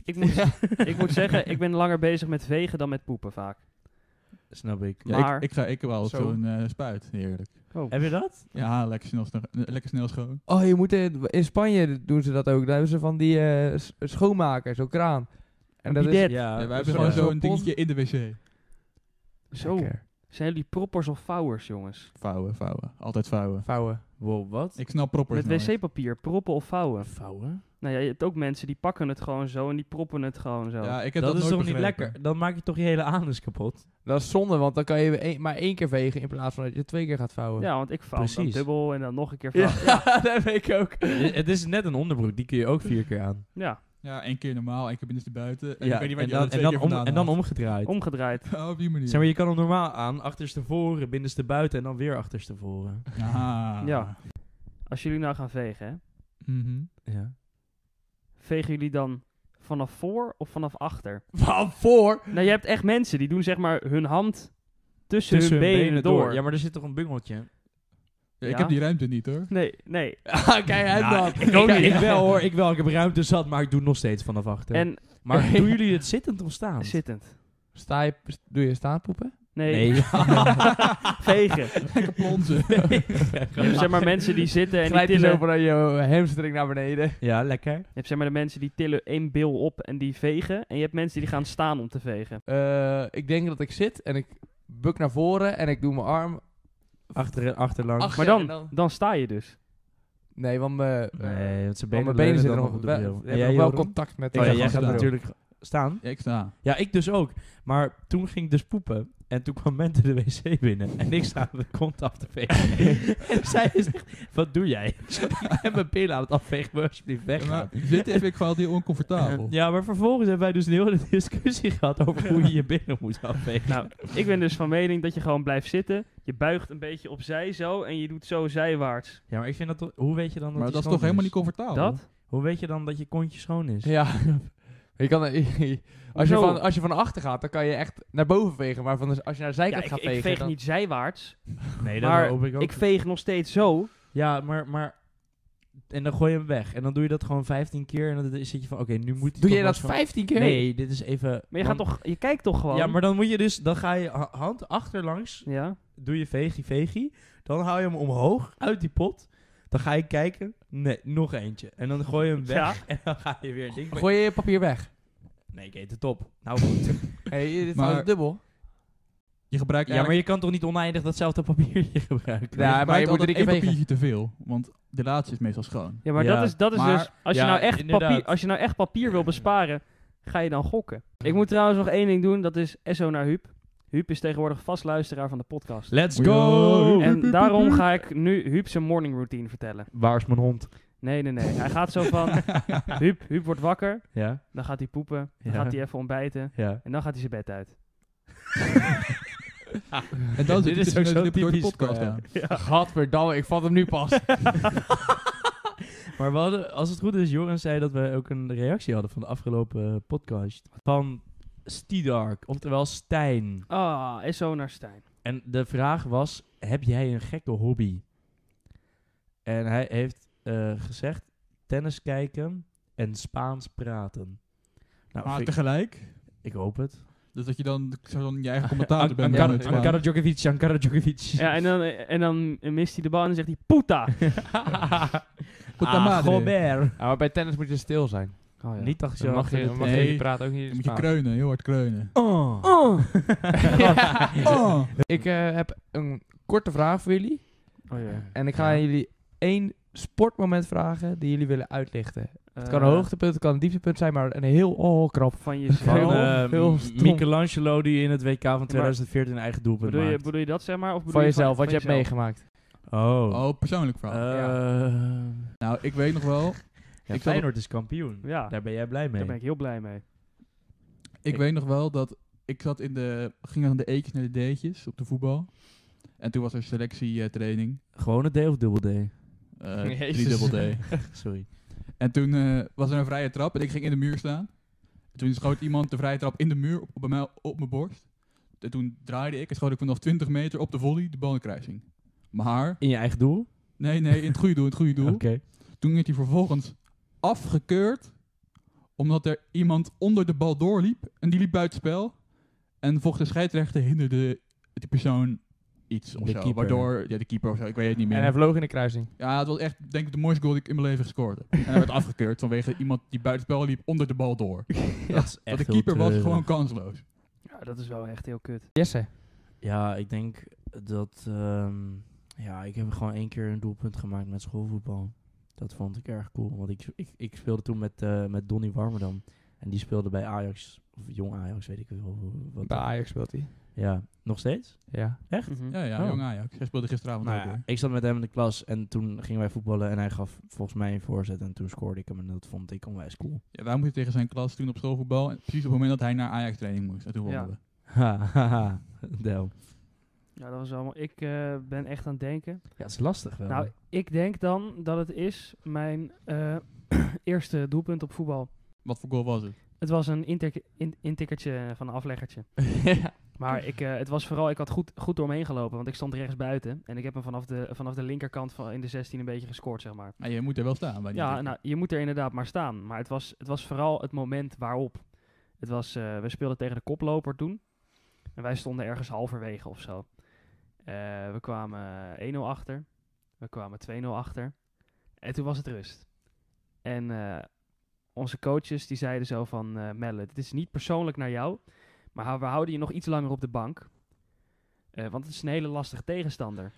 Speaker 4: ik, moet, ik moet zeggen, ik ben langer bezig met vegen dan met poepen vaak.
Speaker 2: Snap ik.
Speaker 3: Ja,
Speaker 4: Maar-
Speaker 3: ik, ik, ga, ik heb wel
Speaker 1: Zo.
Speaker 3: zo'n eh, spuit, heerlijk.
Speaker 2: Heb je dat?
Speaker 3: Ja, lekker snel, sno- eh, lekker snel schoon.
Speaker 1: Oh, je moet in, in Spanje doen ze dat ook. Daar hebben ze van die eh, s- schoonmaker, zo'n kraan.
Speaker 4: Een
Speaker 1: dat
Speaker 4: bidet.
Speaker 1: is
Speaker 2: Ja, dus
Speaker 3: Ja, wij
Speaker 1: dat
Speaker 3: hebben
Speaker 1: is
Speaker 3: gewoon
Speaker 1: wel
Speaker 3: zo'n
Speaker 1: zo'n
Speaker 3: dingetje in de wc.
Speaker 4: Zo,
Speaker 1: Lekker.
Speaker 4: zijn jullie proppers of vouwers, jongens?
Speaker 3: Vouwen, vouwen. Altijd vouwen.
Speaker 1: vouwen.
Speaker 2: Wow, wat?
Speaker 3: Ik snap proppers
Speaker 4: met
Speaker 3: nooit.
Speaker 4: wc-papier, proppen of vouwen?
Speaker 2: Vouwen?
Speaker 4: Nou ja, je hebt ook mensen die pakken het gewoon zo en die proppen het gewoon zo.
Speaker 3: Ja, ik heb
Speaker 2: Dat,
Speaker 3: dat,
Speaker 2: is toch
Speaker 3: nooit
Speaker 2: niet
Speaker 3: begrepen.
Speaker 2: lekker? Dan maak je toch je hele anus kapot.
Speaker 1: Dat is zonde, want dan kan je een- maar één keer vegen in plaats van dat je twee keer gaat vouwen.
Speaker 4: Ja, want ik vouw hem dan
Speaker 2: Precies.
Speaker 4: dubbel en dan nog een keer vouw.
Speaker 1: Ja,
Speaker 4: Ja.
Speaker 1: dat weet ik ook.
Speaker 2: het is net een onderbroek, die kun je ook vier keer aan.
Speaker 3: Ja, één keer normaal, één keer binnenstebuiten. En
Speaker 2: Ja,
Speaker 3: ik weet niet waar
Speaker 2: en
Speaker 3: je dat
Speaker 2: dan, en
Speaker 3: twee
Speaker 2: dan,
Speaker 3: keer
Speaker 2: om,
Speaker 3: vandaan
Speaker 2: en dan
Speaker 3: haalt.
Speaker 2: omgedraaid.
Speaker 4: omgedraaid.
Speaker 3: Oh, op die manier.
Speaker 2: Zeg maar, je kan hem normaal aan, achterstevoren, binnenstebuiten en dan weer achterstevoren.
Speaker 3: Ah.
Speaker 4: Ja. Als jullie nou gaan vegen, hè,
Speaker 3: Mhm.
Speaker 2: Ja.
Speaker 4: vegen jullie dan vanaf voor of vanaf achter?
Speaker 1: Van voor.
Speaker 4: Nou, je hebt echt mensen die doen zeg maar hun hand tussen,
Speaker 2: Tussen
Speaker 4: hun benen, door.
Speaker 2: Ja, maar er zit toch een bungeltje?
Speaker 3: Ja,
Speaker 4: Ja.
Speaker 3: Ik heb die ruimte niet hoor.
Speaker 4: Nee, nee.
Speaker 1: Ah, Kijk uit
Speaker 2: Nou,
Speaker 1: dat.
Speaker 2: Ik, ook niet. ik wel hoor, ik wel. Ik heb ruimte zat, maar ik doe nog steeds vanaf achter.
Speaker 4: En
Speaker 2: maar doen jullie het zittend of staan?
Speaker 4: zittend.
Speaker 1: Sta je, doe je staanpoepen?
Speaker 4: Nee,
Speaker 2: Nee.
Speaker 4: vegen.
Speaker 3: Lekker plonzen.
Speaker 4: Je hebt zeg maar mensen die zitten en die
Speaker 1: Glijdt je zo
Speaker 4: tillen.
Speaker 1: van je hamstring naar beneden.
Speaker 2: Ja, lekker.
Speaker 4: Je hebt zeg maar de mensen die tillen één bil op en die vegen. En je hebt mensen die gaan staan om te vegen.
Speaker 1: Eh, ik denk dat ik zit en ik buk naar voren en ik doe mijn arm.
Speaker 2: Achter en achterlang.
Speaker 1: achter
Speaker 4: Maar
Speaker 1: en
Speaker 4: dan, dan sta je dus.
Speaker 1: Nee, want mijn,
Speaker 2: nee, Eh, want
Speaker 1: want
Speaker 2: zijn benen,
Speaker 1: mijn benen zitten
Speaker 2: dan
Speaker 1: nog
Speaker 2: op de
Speaker 1: wel,
Speaker 2: bril.
Speaker 1: hebben
Speaker 2: En
Speaker 1: nog
Speaker 2: jij,
Speaker 1: wel
Speaker 2: Joram?
Speaker 1: contact met
Speaker 2: Oh ja,
Speaker 3: Ik ga
Speaker 2: jij
Speaker 3: gewoon
Speaker 2: gaat
Speaker 3: staan.
Speaker 2: natuurlijk staan.
Speaker 3: Ja, ik sta.
Speaker 2: Ja, ik dus ook. Maar toen ging ik dus poepen. En toen kwam Mente de wc binnen. En ik sta de kont af te vegen. en zij zegt, wat doe jij? en mijn pillen aan het afvegen, maar alsjeblieft
Speaker 3: Ja, maar
Speaker 2: weggaan.
Speaker 3: zitten vind ik gewoon heel oncomfortabel.
Speaker 2: Ja, maar vervolgens hebben wij dus een hele discussie gehad over hoe je je binnen moet afvegen.
Speaker 4: Nou, ik ben dus van mening dat je gewoon blijft zitten. Je buigt een beetje opzij zo en je doet zo zijwaarts.
Speaker 2: Ja, maar ik vind dat... toch- Hoe weet je dan dat
Speaker 3: Maar
Speaker 2: die
Speaker 3: dat is
Speaker 2: schoon
Speaker 3: toch helemaal niet comfortabel?
Speaker 4: Dat?
Speaker 2: Hoe weet je dan dat je kontje schoon is?
Speaker 1: Ja. Je kan, als, je
Speaker 4: Hoezo?
Speaker 1: van, als je van achter gaat, dan kan je echt naar boven vegen. Maar van de, als je naar de
Speaker 4: Ja,
Speaker 1: zijkant
Speaker 4: ik,
Speaker 1: gaat
Speaker 4: ik
Speaker 1: vegen...
Speaker 4: veeg
Speaker 1: dan-
Speaker 4: niet zijwaarts.
Speaker 2: Nee,
Speaker 4: Maar
Speaker 2: hoop ik ook.
Speaker 4: Ik veeg nog steeds zo.
Speaker 2: Ja, maar, maar... En dan gooi je hem weg. En dan doe je dat gewoon 15 keer. En dan zit je van, oké, nu moet...
Speaker 1: Doe
Speaker 2: hij toch
Speaker 1: je
Speaker 2: wel
Speaker 1: dat
Speaker 2: schoon-
Speaker 1: 15 keer?
Speaker 2: Nee, dit is even...
Speaker 4: Maar je, gaat toch, je kijkt toch gewoon.
Speaker 2: Ja, maar dan moet je dus... Dan ga je ha- hand achterlangs...
Speaker 4: Ja.
Speaker 2: Doe je vegie, vegie. Dan haal je hem omhoog uit die pot. Dan ga je kijken. Nee, nog eentje. En dan gooi je hem weg.
Speaker 4: Ja.
Speaker 2: En dan ga je weer... een ding-
Speaker 1: Gooi je je papier weg.
Speaker 2: Nee, ik eet het op. Nou goed.
Speaker 1: Hey, dit
Speaker 3: Maar-
Speaker 1: is dubbel.
Speaker 3: Je gebruikt
Speaker 2: Ja, maar
Speaker 3: eigenlijk
Speaker 2: je kan toch niet oneindig datzelfde papiertje gebruiken?
Speaker 1: Ja, maar je
Speaker 3: gebruikt
Speaker 1: moet
Speaker 3: altijd
Speaker 1: drie keer
Speaker 3: één
Speaker 1: vegen.
Speaker 3: papiertje te veel. Want de laatste is meestal schoon.
Speaker 4: Ja, maar
Speaker 2: Ja,
Speaker 4: dat is, dat is
Speaker 3: maar-
Speaker 4: dus... Als,
Speaker 2: ja,
Speaker 4: je nou echt
Speaker 2: inderdaad.
Speaker 4: papier, als je nou echt papier wil besparen, ga je dan gokken. Ik moet trouwens nog één ding doen. Dat is SO naar Huub. Huub is tegenwoordig vast luisteraar van de podcast.
Speaker 2: Let's
Speaker 3: Yo.
Speaker 2: go!
Speaker 3: Huub,
Speaker 4: En daarom ga ik nu Huub zijn morning routine vertellen.
Speaker 2: Waar is mijn hond?
Speaker 4: Nee, nee, nee. Hij gaat zo van... Huub, Huub wordt wakker.
Speaker 2: Ja,
Speaker 4: Dan gaat hij poepen. Dan
Speaker 2: Ja.
Speaker 4: gaat hij even ontbijten.
Speaker 2: ja.
Speaker 4: En dan gaat hij zijn bed uit.
Speaker 1: Ah,
Speaker 3: En dus dan
Speaker 2: Dit
Speaker 3: zit je
Speaker 2: is
Speaker 3: tussen
Speaker 2: ook zo
Speaker 3: neus en lippen door de
Speaker 2: typisch,
Speaker 3: podcast
Speaker 2: ja.
Speaker 3: aan.
Speaker 1: Gadverdamme, ik vat hem nu pas.
Speaker 2: Maar we hadden, als het goed is, Joran zei dat we ook een reactie hadden van de afgelopen eh, podcast. Van Stidark, oftewel Stijn.
Speaker 4: Ah, is zo naar Stijn.
Speaker 2: En de vraag was, heb jij een gekke hobby? En hij heeft eh, gezegd, tennis kijken en Spaans praten. Nou,
Speaker 3: Maar
Speaker 2: vind ik,
Speaker 3: Ah, tegelijk.
Speaker 2: ik hoop het.
Speaker 3: Dus dat je dan, zo dan je eigen
Speaker 2: An-
Speaker 3: commentator bent.
Speaker 2: Ankara
Speaker 3: dan het
Speaker 2: Ankara
Speaker 3: Spaans.
Speaker 2: Djokovic, Ankara Djokovic. Ah,
Speaker 4: Ja, en dan, en dan mist hij de bal en dan zegt hij poeta.
Speaker 3: Puta madre.
Speaker 2: Ah, Gobert.
Speaker 1: maar bij tennis moet je stil zijn.
Speaker 4: Oh, ja.
Speaker 2: Niet dat je
Speaker 1: Dan mag je, mag je
Speaker 3: Nee.
Speaker 1: die praat ook niet
Speaker 3: Dan
Speaker 1: in
Speaker 3: moet je
Speaker 1: Spaans.
Speaker 3: kreunen, heel hard kreunen.
Speaker 2: Oh.
Speaker 1: Ja.
Speaker 3: Oh.
Speaker 1: Ik eh, heb een korte vraag voor jullie.
Speaker 4: Oh, ja.
Speaker 1: En ik ga aan jullie één sportmoment vragen die jullie willen uitlichten. Het kan
Speaker 4: Eh,
Speaker 1: een hoogtepunt, het kan een dieptepunt zijn, maar een heel oh, krap.
Speaker 4: Van jezelf.
Speaker 2: Van
Speaker 1: Heel-
Speaker 2: eh,
Speaker 1: heel
Speaker 2: M-
Speaker 1: stom.
Speaker 2: Michelangelo die in het WK van 2014 een eigen doelpunt
Speaker 4: bedoel, je,
Speaker 2: maakt.
Speaker 4: bedoel je dat, zeg maar? Of bedoel
Speaker 1: Van
Speaker 4: je
Speaker 1: jezelf, wat je hebt
Speaker 4: van jezelf?
Speaker 1: meegemaakt.
Speaker 2: Oh.
Speaker 3: Oh, persoonlijk verhaal.
Speaker 2: Eh,
Speaker 3: Nou, ik weet nog wel.
Speaker 2: ja,
Speaker 3: Ik
Speaker 2: Feyenoord is kampioen.
Speaker 4: Ja,
Speaker 2: Daar ben jij blij mee.
Speaker 4: daar ben ik heel blij mee.
Speaker 3: Ik
Speaker 2: Ik-
Speaker 3: weet nog wel dat ik zat in de, ging van de E'tjes naar de D'tjes op de voetbal. En toen was er selectietraining.
Speaker 2: Gewoon een D of dubbel D?
Speaker 3: eh
Speaker 1: Jezus.
Speaker 3: drie dubbel D.
Speaker 2: Sorry.
Speaker 3: En toen eh, was er een vrije trap en ik ging in de muur staan. En toen schoot iemand de vrije trap in de muur op, op, mij, op mijn borst. En toen draaide ik en schoot ik vanaf 20 meter op de volley de bal in de kruising. Maar,
Speaker 2: In je eigen doel?
Speaker 3: nee, nee, in het goede doel, in het goede doel. Toen werd hij vervolgens afgekeurd. Omdat er iemand onder de bal doorliep. En die liep buitenspel. En volgens de scheidsrechter hinderde die persoon iets of
Speaker 2: De
Speaker 3: zo.
Speaker 2: keeper.
Speaker 3: Waardoor, ja, de keeper of zo, ik weet het niet
Speaker 1: En hij
Speaker 3: meer.
Speaker 1: vloog in de kruising.
Speaker 3: Ja, het was echt, denk ik, de mooiste goal die ik in mijn leven gescoord heb. En hij werd afgekeurd vanwege iemand die buitenspel liep onder de bal door.
Speaker 2: Dat is
Speaker 3: Want
Speaker 2: echt
Speaker 3: de
Speaker 2: heel
Speaker 3: keeper was
Speaker 2: treurig.
Speaker 3: gewoon kansloos.
Speaker 4: Ja, dat is wel echt heel kut.
Speaker 1: Jesse.
Speaker 2: Ja, ik denk dat... ehm, ja, ik heb gewoon één keer een doelpunt gemaakt met schoolvoetbal. Dat vond ik erg cool. Want ik, ik, ik speelde toen met, eh, met Donny Warmerdam. En die speelde bij Ajax. Of jong Ajax, weet ik wel. hoe- Wat
Speaker 1: Bij Ajax speelt hij.
Speaker 2: Ja, nog steeds?
Speaker 1: Ja.
Speaker 4: Mhm.
Speaker 3: Ja, ja,
Speaker 2: Oh.
Speaker 3: jong Ajax. Hij speelde gisteravond
Speaker 1: Nou
Speaker 3: ook
Speaker 1: ja.
Speaker 3: weer.
Speaker 2: Ik zat met hem in de klas en toen gingen wij voetballen. En hij gaf volgens mij een voorzet. En toen scoorde ik hem. En dat vond ik onwijs cool.
Speaker 3: Ja, wij moesten tegen zijn klas toen op schoolvoetbal. En precies op het moment dat hij naar Ajax training moest. En toen wonnen
Speaker 4: Ja.
Speaker 3: we.
Speaker 2: Ha, ha, ha. Del.
Speaker 4: Ja, dat was allemaal. Ik eh, ben echt aan het denken.
Speaker 2: Ja, het is lastig wel.
Speaker 4: Nou, ik denk dan dat het is mijn eh, eerste doelpunt op voetbal.
Speaker 3: Wat voor goal was het?
Speaker 4: Het was een intik- in- intikkertje van een afleggertje. Maar ik, eh, het was vooral, ik had goed, goed door me heen gelopen, want ik stond rechts buiten. En ik heb hem vanaf de, vanaf de linkerkant van, in de 16 een beetje gescoord, zeg maar.
Speaker 3: Maar Nou, je moet er wel staan. Bij die
Speaker 4: Ja,
Speaker 3: kick.
Speaker 4: nou, je moet er inderdaad maar staan. Maar het was, het was vooral het moment waarop. Het was, eh, we speelden tegen de koploper toen. En wij stonden ergens halverwege of zo. Eh, we kwamen eh, 1-0 achter. We kwamen 2-0 achter. En toen was het rust. En eh, onze coaches die zeiden zo van... eh Melle, dit is niet persoonlijk naar jou. Maar hou- we houden je nog iets langer op de bank. Eh, want het is een hele lastige tegenstander.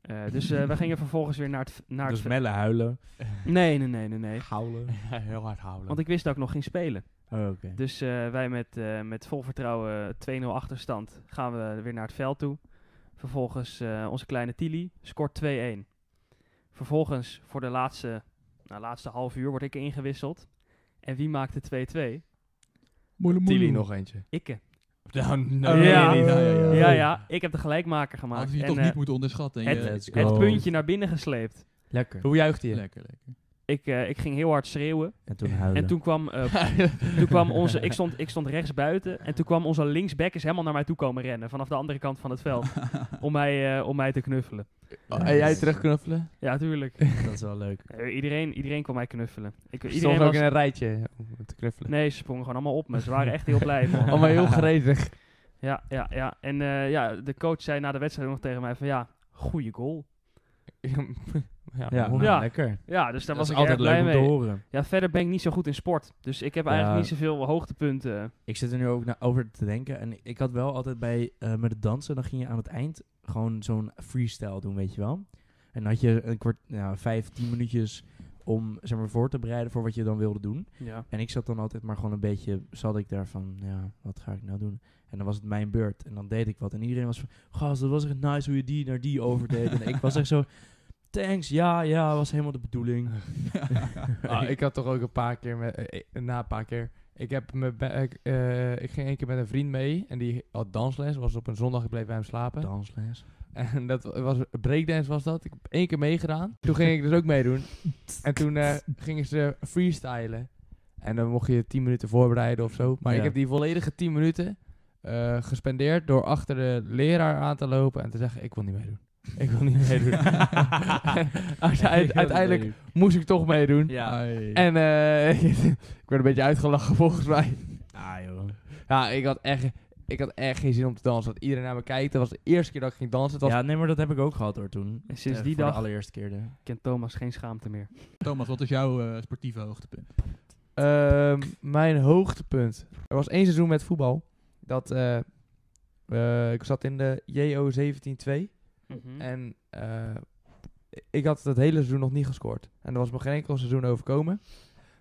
Speaker 4: Eh, dus eh, we gingen vervolgens weer naar het... Naar
Speaker 2: dus
Speaker 4: het
Speaker 2: mellen huilen.
Speaker 4: Nee, nee, nee, nee, nee.
Speaker 2: Huilen.
Speaker 1: Heel hard houden.
Speaker 4: Want ik wist dat ik nog ging spelen.
Speaker 2: Oh, oké.
Speaker 4: Dus eh, wij met, eh, met vol vertrouwen 2-0 achterstand gaan we weer naar het veld toe. Vervolgens eh, onze kleine Tilly scoort 2-1. Vervolgens voor de laatste, nou, laatste half uur word ik ingewisseld. En wie maakte 2-2?
Speaker 3: Moeilijk,
Speaker 1: Tilly
Speaker 3: moeilijk. Eh,
Speaker 1: nog eentje.
Speaker 4: Ikke.
Speaker 1: Nou,
Speaker 4: Oh, ja.
Speaker 1: nee,
Speaker 3: Ja,
Speaker 1: nee,
Speaker 3: ja,
Speaker 1: nee.
Speaker 4: Ja, ja, ik heb de gelijkmaker
Speaker 3: Had
Speaker 4: gemaakt.
Speaker 3: je die
Speaker 4: En,
Speaker 3: toch
Speaker 4: eh,
Speaker 3: niet moeten eh, onderschatten. Je-
Speaker 4: het-
Speaker 2: Let's
Speaker 4: het
Speaker 2: go.
Speaker 4: puntje naar binnen gesleept.
Speaker 2: Lekker.
Speaker 1: Hoe juicht hij?
Speaker 3: Lekker, lekker.
Speaker 4: Ik, eh, ik ging heel hard schreeuwen.
Speaker 2: En toen huilen.
Speaker 4: En toen kwam, eh, toen kwam onze. Ik stond, ik stond rechts buiten. En toen kwam onze linksback is helemaal naar mij toe komen rennen. Vanaf de andere kant van het veld. om, mij, eh, om mij te knuffelen.
Speaker 1: Oh, en jij terugknuffelen?
Speaker 4: Ja, tuurlijk.
Speaker 2: dat is wel leuk.
Speaker 4: Eh, iedereen, iedereen kwam mij knuffelen. Ik,
Speaker 1: Stond
Speaker 4: iedereen
Speaker 1: ook
Speaker 4: was,
Speaker 1: in een rijtje om te knuffelen.
Speaker 4: Nee, ze sprongen gewoon allemaal op me. Ze waren echt heel blij. man.
Speaker 1: Allemaal heel gretig.
Speaker 4: Ja, ja, ja. En eh, ja, de coach zei na de wedstrijd nog tegen mij: van ja, goeie goal.
Speaker 1: ja, hoor.
Speaker 2: Ja, nou,
Speaker 4: Ja.
Speaker 2: lekker.
Speaker 4: Ja, dus
Speaker 2: Dat
Speaker 4: daar was
Speaker 2: is
Speaker 4: ik
Speaker 2: altijd
Speaker 4: altijd erg blij
Speaker 2: leuk om te
Speaker 4: mee.
Speaker 2: horen.
Speaker 4: Ja, verder ben ik niet zo goed in sport. Dus ik heb
Speaker 2: Ja.
Speaker 4: eigenlijk niet zoveel hoogtepunten.
Speaker 2: Ik zit er nu ook na- over te denken. En ik had wel altijd bij eh, met het dansen, dan ging je aan het eind gewoon zo'n freestyle doen, weet je wel. En dan had je een kwart, nou, vijf, tien minuutjes om zeg maar, voor te bereiden voor wat je dan wilde doen.
Speaker 4: Ja.
Speaker 2: En ik zat dan altijd maar gewoon een beetje, zat ik daar van, ja, wat ga ik nou doen? En dan was het mijn beurt. En dan deed ik wat. En iedereen was van, gast, dat was echt nice hoe je die naar die overdeed. en ik was echt zo, thanks, ja, ja, was helemaal de bedoeling.
Speaker 1: Ah, ik had toch ook een paar keer, met, eh, eh, na een paar keer. Ik, heb me, bij- ik, eh, ik ging één keer met een vriend mee en die had dansles. Was op een zondag, ik bleef bij hem slapen.
Speaker 2: Dansles.
Speaker 1: En dat was breakdance was dat. Ik heb één keer meegedaan. Toen ging ik dus ook meedoen. En toen eh, gingen ze freestylen. En dan mocht je 10 minuten voorbereiden of zo. Maar
Speaker 2: Ja.
Speaker 1: ik heb die volledige 10 minuten eh, gespendeerd door achter de leraar aan te lopen en te zeggen: Ik wil niet meedoen. Ik wil niet meedoen. En uite- uiteindelijk moest ik toch meedoen.
Speaker 2: Ja.
Speaker 3: Ai.
Speaker 1: En eh, ik werd een beetje uitgelachen volgens mij.
Speaker 2: Ah, joh.
Speaker 1: Ja, ik had echt, ik had echt geen zin om te dansen. Dat iedereen naar me kijkt. Dat was de eerste keer dat ik ging dansen. Het was
Speaker 2: Ja, nee, maar dat heb ik ook gehad hoor toen.
Speaker 4: En sinds
Speaker 2: Eh,
Speaker 4: die
Speaker 2: voor
Speaker 4: dag-
Speaker 2: de allereerste keer. De...
Speaker 4: Kent Thomas geen schaamte meer.
Speaker 3: Thomas, wat is jouw eh, sportieve hoogtepunt?
Speaker 1: Ehm, mijn hoogtepunt. Er was één seizoen met voetbal. Dat, eh, eh, ik zat in de JO 17-2.
Speaker 2: Hm.
Speaker 1: En eh, ik had het hele seizoen nog niet gescoord. En er was me geen enkel seizoen overkomen.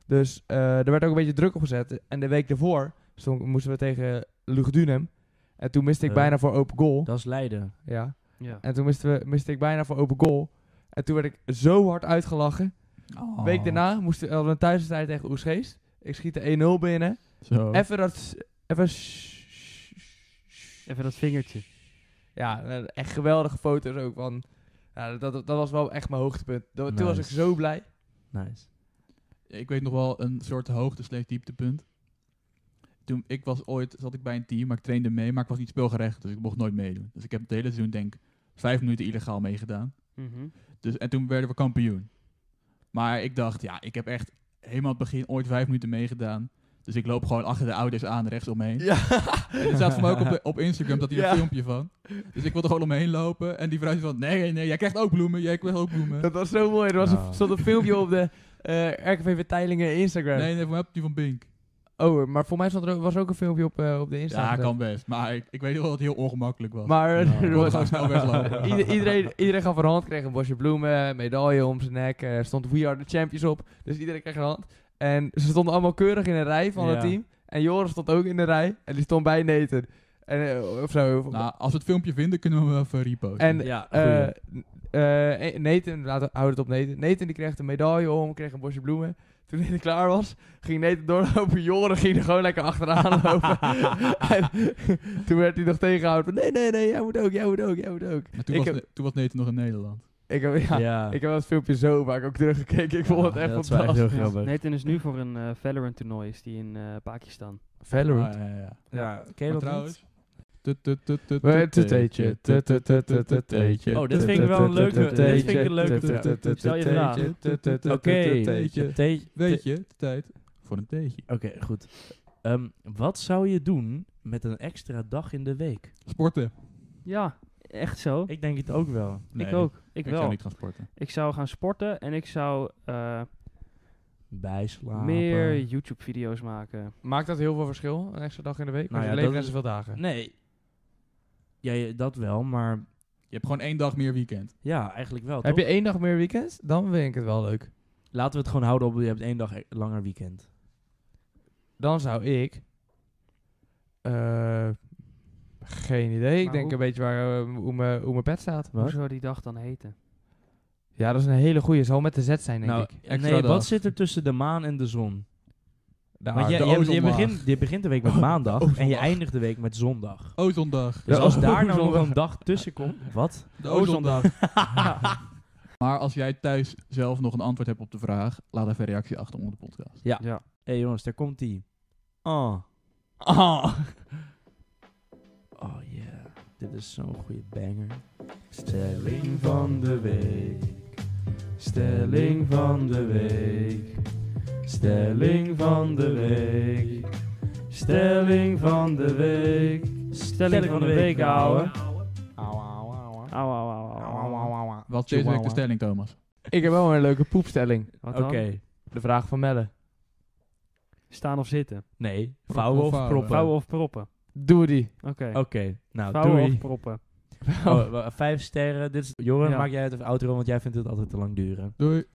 Speaker 1: Dus eh, er werd ook een beetje druk op gezet. En de week daarvoor stond- moesten we tegen Lugdunum. En toen miste ik
Speaker 2: Eh.
Speaker 1: bijna voor open goal.
Speaker 2: Dat is Leiden.
Speaker 1: Ja.
Speaker 4: ja.
Speaker 1: En toen miste, we, miste ik bijna voor open goal. En toen werd ik zo hard uitgelachen.
Speaker 3: Oh.
Speaker 1: Week daarna moesten hadden we een thuiswedstrijd tegen Oesgeest. Ik schiet de 1-0 binnen.
Speaker 3: Zo.
Speaker 1: Even dat. s- Even. s-
Speaker 4: Even dat vingertje.
Speaker 1: Ja, eh, echt geweldige foto's ook. Van, ja, dat, dat, dat was wel echt mijn hoogtepunt. Dat- Toen was ik
Speaker 2: Nice.
Speaker 1: zo blij.
Speaker 2: Nice.
Speaker 3: Ik weet nog wel een soort hoogte slechts dieptepunt. Toen ik was ooit, zat ik bij een team, maar ik trainde mee, maar ik was niet speelgerecht, dus ik mocht nooit meedoen. Dus ik heb het hele seizoen denk ik vijf minuten illegaal meegedaan.
Speaker 4: Mhm.
Speaker 3: Dus, en toen werden we kampioen. Maar ik dacht, ja, ik heb echt helemaal het begin ooit vijf minuten meegedaan. Dus ik loop gewoon achter de ouders aan, rechts omheen. En er staat voor mij ook op, de- op Instagram dat hij
Speaker 1: Ja.
Speaker 3: een filmpje van. Dus ik wilde gewoon omheen lopen. En die vrouw zei van, nee, nee, jij krijgt ook bloemen. Jij krijgt ook bloemen.
Speaker 1: Dat was zo mooi. Er was een,
Speaker 2: Nou.
Speaker 1: stond een filmpje op de eh RKVV Teilingen Instagram.
Speaker 3: Nee, nee, voor mij heb je die van Bink.
Speaker 1: Oh, maar voor mij stond er ook- was er ook een filmpje op, eh, op de Insta.
Speaker 3: Ja,
Speaker 1: gezet.
Speaker 3: kan best. Maar ik, ik weet wel dat het heel ongemakkelijk was.
Speaker 1: Maar
Speaker 2: Ja,
Speaker 1: er
Speaker 3: ik kon
Speaker 1: was-
Speaker 3: gewoon snel weglopen.
Speaker 1: Ieder- iedereen, iedereen gaf een hand, kreeg een bosje bloemen, medaille om zijn nek. Er stond We Are The Champions op, dus iedereen kreeg een hand. En ze stonden allemaal keurig in een rij van het
Speaker 2: Ja.
Speaker 1: team. En Joris stond ook in de rij en die stond bij Nathan. En, eh, of zo. Of-
Speaker 3: Nou, als we het filmpje vinden, kunnen we hem even reposten.
Speaker 1: En-
Speaker 2: ja,
Speaker 1: eh,
Speaker 2: goeie.
Speaker 1: eh, eh, Nathan, laten we houden het op Nathan. Nathan die kreeg een medaille om, kreeg een bosje bloemen. Toen Nathan klaar was, ging Nathan doorlopen. Joren ging er gewoon lekker achteraan lopen. en toen werd hij nog tegengehouden van, nee, nee, nee, jij moet ook, jij moet ook, jij moet ook.
Speaker 3: maar toen,
Speaker 1: ik
Speaker 3: was,
Speaker 1: heb-
Speaker 3: Ne- toen was Nathan nog in Nederland.
Speaker 1: Ik heb, ja,
Speaker 2: ja.
Speaker 1: Ik heb dat filmpje zo vaak ook teruggekeken. Ik vond het
Speaker 2: Ja,
Speaker 1: echt
Speaker 2: dat is wel echt
Speaker 1: fantastisch.
Speaker 2: heel grappig.
Speaker 4: Nathan is nu voor een eh, Valorant-toernooi is die in eh, Pakistan.
Speaker 1: Valorant.
Speaker 3: Ah, ja, ja.
Speaker 2: Ja, ken je
Speaker 3: Maar
Speaker 2: dat
Speaker 3: trouwens...
Speaker 2: niet?
Speaker 3: tut, tut, tut, tut,
Speaker 1: Eh,
Speaker 3: tut,
Speaker 1: tuteetje, tut, tut, tut, tut, tut, tuteetje.
Speaker 2: Oh, dit vind ik wel een leuke. Dit vind ik een leuke
Speaker 4: Tuteetje.
Speaker 2: vraag.
Speaker 4: Stel je vraag.
Speaker 2: Oké.
Speaker 3: Tuteetje.
Speaker 2: Tee-
Speaker 3: Weet je, de tijd voor een theetje.
Speaker 2: Oké, goed. Ehm, wat zou je doen met een extra dag in de week?
Speaker 3: Sporten.
Speaker 4: Ja, echt zo.
Speaker 2: Ik denk het ook wel.
Speaker 3: Nee,
Speaker 4: ik ook. Ik,
Speaker 3: Ik
Speaker 4: wel.
Speaker 3: zou niet gaan sporten.
Speaker 4: Ik zou gaan sporten en ik zou eh,
Speaker 2: Bijslapen.
Speaker 4: meer YouTube-video's maken.
Speaker 1: Maakt dat heel veel verschil, een extra dag in de week?
Speaker 2: Nou
Speaker 1: Nou
Speaker 2: ja,
Speaker 1: ja, leven
Speaker 2: dat
Speaker 1: net
Speaker 2: is-
Speaker 1: zoveel dagen.
Speaker 2: Nee. Ja, ja, dat wel, maar
Speaker 3: Je hebt gewoon één dag meer weekend.
Speaker 2: ja, eigenlijk wel.
Speaker 1: Heb
Speaker 2: toch?
Speaker 1: je één dag meer weekend? Dan vind ik het wel leuk.
Speaker 2: Laten we het gewoon houden op, je hebt één dag e- langer weekend.
Speaker 1: Dan zou ik... eh, geen idee. Ik
Speaker 4: Maar
Speaker 1: denk
Speaker 4: hoe-
Speaker 1: een beetje waar, eh, hoe mijn- hoe mijn pet staat.
Speaker 2: Wat?
Speaker 4: Hoe zou die dag dan heten?
Speaker 1: Ja, dat is een hele goeie. Zal met de Z zijn, denk
Speaker 2: nou,
Speaker 1: ik.
Speaker 2: nee,
Speaker 1: Extra dag.
Speaker 2: wat zit er tussen de maan en de zon?
Speaker 1: De
Speaker 2: Want
Speaker 1: aarde.
Speaker 2: jij-
Speaker 3: de
Speaker 2: jij- je,
Speaker 3: ozonlaag.
Speaker 2: begint, je begint de week met maandag
Speaker 3: ozonlaag.
Speaker 2: en je eindigt de week met zondag.
Speaker 3: Ozondag.
Speaker 2: Dus
Speaker 1: De
Speaker 2: als daar nou
Speaker 1: ozonlaag.
Speaker 2: nog een dag tussen komt... Wat?
Speaker 3: De ozondag. maar als jij thuis zelf nog een antwoord hebt op de vraag, laat even een reactie achter onder de podcast.
Speaker 2: Ja.
Speaker 4: Ja.
Speaker 2: Hé hey jongens, daar komt die. Oh.
Speaker 3: Ah.
Speaker 2: Oh yeah, dit is zo'n goede banger. Stelling van de week. Stelling van de week. Stelling van de week. Stelling van de week.
Speaker 4: Stelling van de week, ouwe.
Speaker 2: Auw, auw, auw.
Speaker 4: Auw, auw, auw, auw, auw.
Speaker 3: Wat is deze week de
Speaker 2: Chihuahua.
Speaker 3: stelling, Thomas?
Speaker 1: Ik heb wel een leuke poepstelling.
Speaker 4: Wat
Speaker 2: Oké.
Speaker 4: dan?
Speaker 1: De vraag van Melle.
Speaker 4: Staan of zitten?
Speaker 2: Nee,
Speaker 3: Proppen
Speaker 2: vouwen
Speaker 3: of
Speaker 2: of
Speaker 3: vouwen?
Speaker 2: proppen?
Speaker 4: Vouwen of proppen?
Speaker 1: Doe die.
Speaker 4: Oké.
Speaker 2: Oké, nou
Speaker 4: Vouwen
Speaker 2: doei.
Speaker 4: of proppen?
Speaker 2: Oh, wa- vijf sterren. Dit is, Joren,
Speaker 4: Ja.
Speaker 2: maak jij het even outro, want jij vindt het altijd te lang duren.
Speaker 3: Doei.